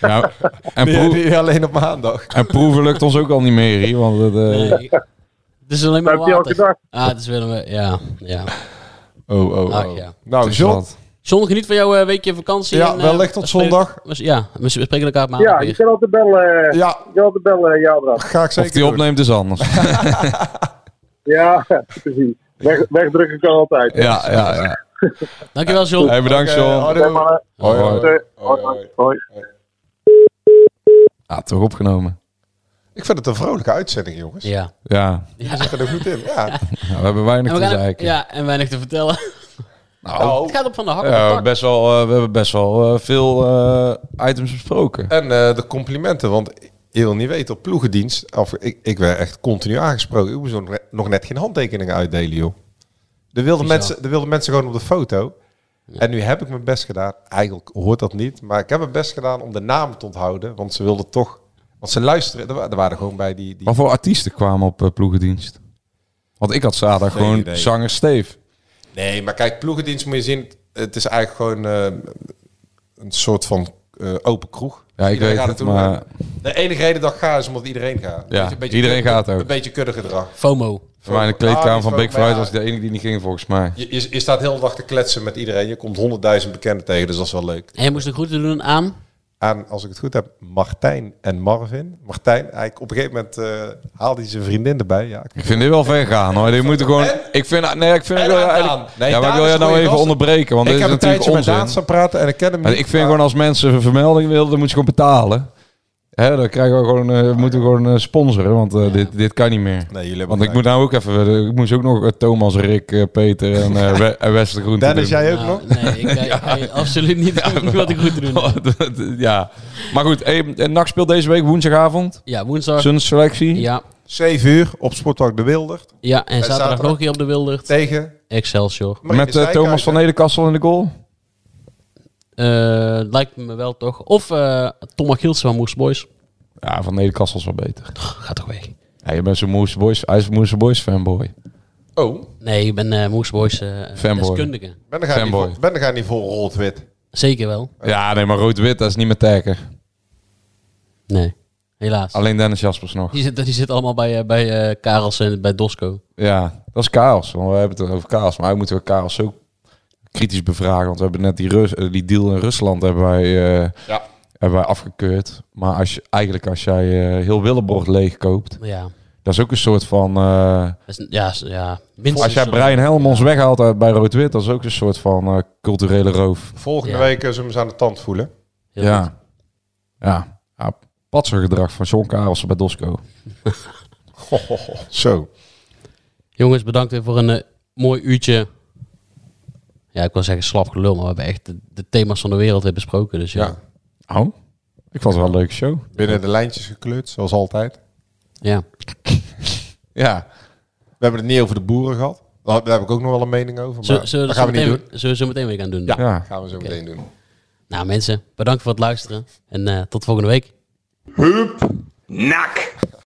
S7: Nou, en,
S8: Niet,
S7: proe-
S8: niet alleen op maandag.
S7: en proeven lukt ons ook al niet meer hier, want het, eh,
S6: Nee. Het is alleen maar
S11: Heb je elke
S6: water.
S11: dag?
S6: Ah, het is wel een... Ja, ja.
S8: Oh, oh, oh.
S6: Ach, ja.
S8: Nou,
S7: het is
S8: John,
S7: wat.
S6: John, geniet van jouw eh, weekje vakantie.
S8: Ja,
S6: en, eh,
S8: wellicht tot
S6: we spreken-
S8: zondag.
S6: we- Ja, we we spreken elkaar op maandag
S11: Ja, je
S6: weer.
S11: kan altijd bellen. eh,
S8: Ja.
S11: Je kan altijd bellen, Jadra.
S8: ga ik
S7: Of
S8: zeker
S7: die
S8: doen.
S7: opneemt is anders.
S11: Ja, precies. Weg, wegdrukken kan altijd.
S7: ja, ja, ja.
S6: Dankjewel, John.
S7: Hey, bedankt,
S8: Oké,
S7: John.
S8: houdoe.
S11: Zeg maar,
S7: Hoi,
S11: eh,
S7: hoi.
S11: hoi, hoi, hoi.
S7: Ja, toch opgenomen.
S8: Ik vind het een vrolijke uitzending, jongens.
S6: Ja.
S7: Ja,
S8: Je zit er goed in. Ja.
S7: nou, we hebben weinig
S6: En
S7: te
S6: we gaan,
S7: zeiken.
S6: ja, en weinig te vertellen.
S8: Nou,
S6: Het gaat op van de hak. op de
S7: Ja,
S6: tak.
S7: best wel, eh, we hebben best wel eh, veel eh, items besproken.
S8: En eh, de complimenten, want je wil niet weten, op ploegendienst, of, ik, ik werd echt continu aangesproken. Ik moest nog net- nog net geen handtekeningen uitdelen, joh. Er wilden,
S6: Bizar.
S8: mensen, er wilden mensen gewoon op de foto. En nu heb ik mijn best gedaan. Eigenlijk hoort dat niet, maar ik heb mijn best gedaan om de naam te onthouden. Want ze wilden toch... Want ze luisteren, er wa- er waren gewoon bij die... die
S7: Wat voor artiesten kwamen op eh, ploegendienst? Want ik had zaterdag
S8: Geen
S7: gewoon
S8: idee.
S7: zanger Steve.
S8: Nee, maar kijk, ploegendienst moet je zien. Het is eigenlijk gewoon eh, een soort van eh, open kroeg.
S7: Ja, ik
S8: Iedereen
S7: weet
S8: gaat
S7: het,
S8: naartoe.
S7: maar-
S8: De enige reden dat ik ga is omdat iedereen gaat.
S7: Ja, iedereen gaat ook.
S8: Een beetje kudde gedrag.
S6: FOMO.
S7: Voor mij in de
S8: Ja,
S7: kleedkamer van
S8: die
S7: Big
S8: is wel-
S7: Fruit
S8: maar
S7: was ik
S8: ja,
S7: de enige die niet ging volgens mij.
S8: Je, je, je staat heel de dag te kletsen met iedereen. Je komt honderdduizend bekenden tegen, dus dat is wel leuk.
S6: En je moest de groeten doen aan.
S8: Aan, als ik het goed heb, Martijn en Marvin. Martijn, eigenlijk op een gegeven moment eh haalde hij zijn vriendin erbij. Ja, ik-
S7: Ik vind dit wel ver gaan hoor. Dit moeten gewoon.
S8: En-
S7: Ik vind. Nee, ik vind.
S8: en
S7: ik wil
S8: aan
S7: eigenlijk-
S8: Daan. Nee,
S7: ja, maar
S8: Daan
S7: ik wil
S8: is
S7: je nou
S8: een goeie
S7: even
S8: gast.
S7: onderbreken, want
S8: ik
S7: dit is
S8: heb een
S7: natuurlijk
S8: tijdje met Daan
S7: onzin.
S8: staan praten en ik ken hem
S7: Maar
S8: niet,
S7: ik vind
S8: maar-
S7: gewoon als mensen een vermelding willen, dan moet je gewoon betalen. Hè, dan krijgen we gewoon, eh, moeten we gewoon eh, sponsoren, want eh, dit, dit kan niet meer.
S8: Nee, jullie hebben
S7: want ik
S8: gelijk.
S7: moet nou ook even, ik moest ook nog eh, Thomas, Rick, eh, Peter en eh We- en Wester Groen
S8: Dennis, jij ook nog?
S6: Nou, nee, ik ga- ik ga je absoluut niet doen wat de groeten doen.
S7: ja, maar goed. Hey, en NAC speelt deze week woensdagavond.
S6: Ja, woensdag.
S7: Zijn selectie.
S6: Ja,
S8: 7 uur op Sportpark de Wildert.
S6: ja en zaterdag
S8: zaterdag.
S6: nog een keer op de Wildert.
S8: Tegen
S6: Excelsior.
S7: Met eh, Thomas van Nederkassel in de goal.
S6: Eh, lijkt me wel toch. Of eh Tom Gielsen van Moes Boys.
S7: Ja, van Nederkassel is wel beter.
S6: Gaat toch weg.
S7: Ja, je bent zo'n Moose Boys, hij is een Moose Boys fanboy.
S8: Oh,
S6: Nee, ik ben eh Moes Boys eh
S7: Fanboy.
S6: deskundige.
S8: ben er gaan niet
S7: Fanboy.
S8: vol- ben er gaan niet vol rood-wit.
S6: Zeker wel.
S7: Ja, nee, maar rood-wit, dat is niet meer tacker.
S6: Nee, helaas.
S7: Alleen Dennis Jaspers nog.
S6: Die zitten die zit allemaal bij, eh, bij eh, Karels en bij Dosco.
S7: Ja, dat is Kaals. Want we hebben het over Kaals. Maar we moeten we Kaals ook kritisch bevragen. Want we hebben net die, Rus, eh, die deal in Rusland hebben wij, eh,
S8: Ja.
S7: hebben wij afgekeurd. Maar als je, eigenlijk als jij eh, heel Willebrocht leegkoopt,
S6: Ja,
S7: dat is ook een soort van... eh,
S6: dat is- ja, s- ja minstens.
S7: als jij Brian Helmons weghaalt uit bij rood-wit, dat is ook een soort van eh, culturele roof.
S8: Volgende
S6: Ja.
S8: week zullen we hem eens aan de tand voelen.
S6: Heel
S7: ja.
S6: goed.
S7: ja. Ja, patsergedrag van John Karelsen bij Dosco.
S8: Zo.
S6: Jongens, bedankt weer voor een eh, mooi uurtje. eh, Ja, ik wil zeggen slap gelul, maar we hebben echt de, de thema's van de wereld weer besproken. Dus ja.
S8: Ja.
S7: Oh? Ik vond het wel een leuke show.
S8: Binnen de lijntjes gekleurd, zoals altijd.
S6: Ja.
S8: Ja. We hebben het niet over de boeren gehad. Daar daar heb ik ook nog wel een mening over. Maar
S6: Zullen, zullen, we
S8: dat gaan we
S6: dat
S8: niet
S6: zo
S8: doen.
S6: meteen- zullen we zo meteen weer gaan doen?
S8: Ja,
S7: Ja.
S8: gaan we zo meteen doen.
S6: Nou mensen, bedankt voor het luisteren. En eh, tot volgende week.
S3: Nak.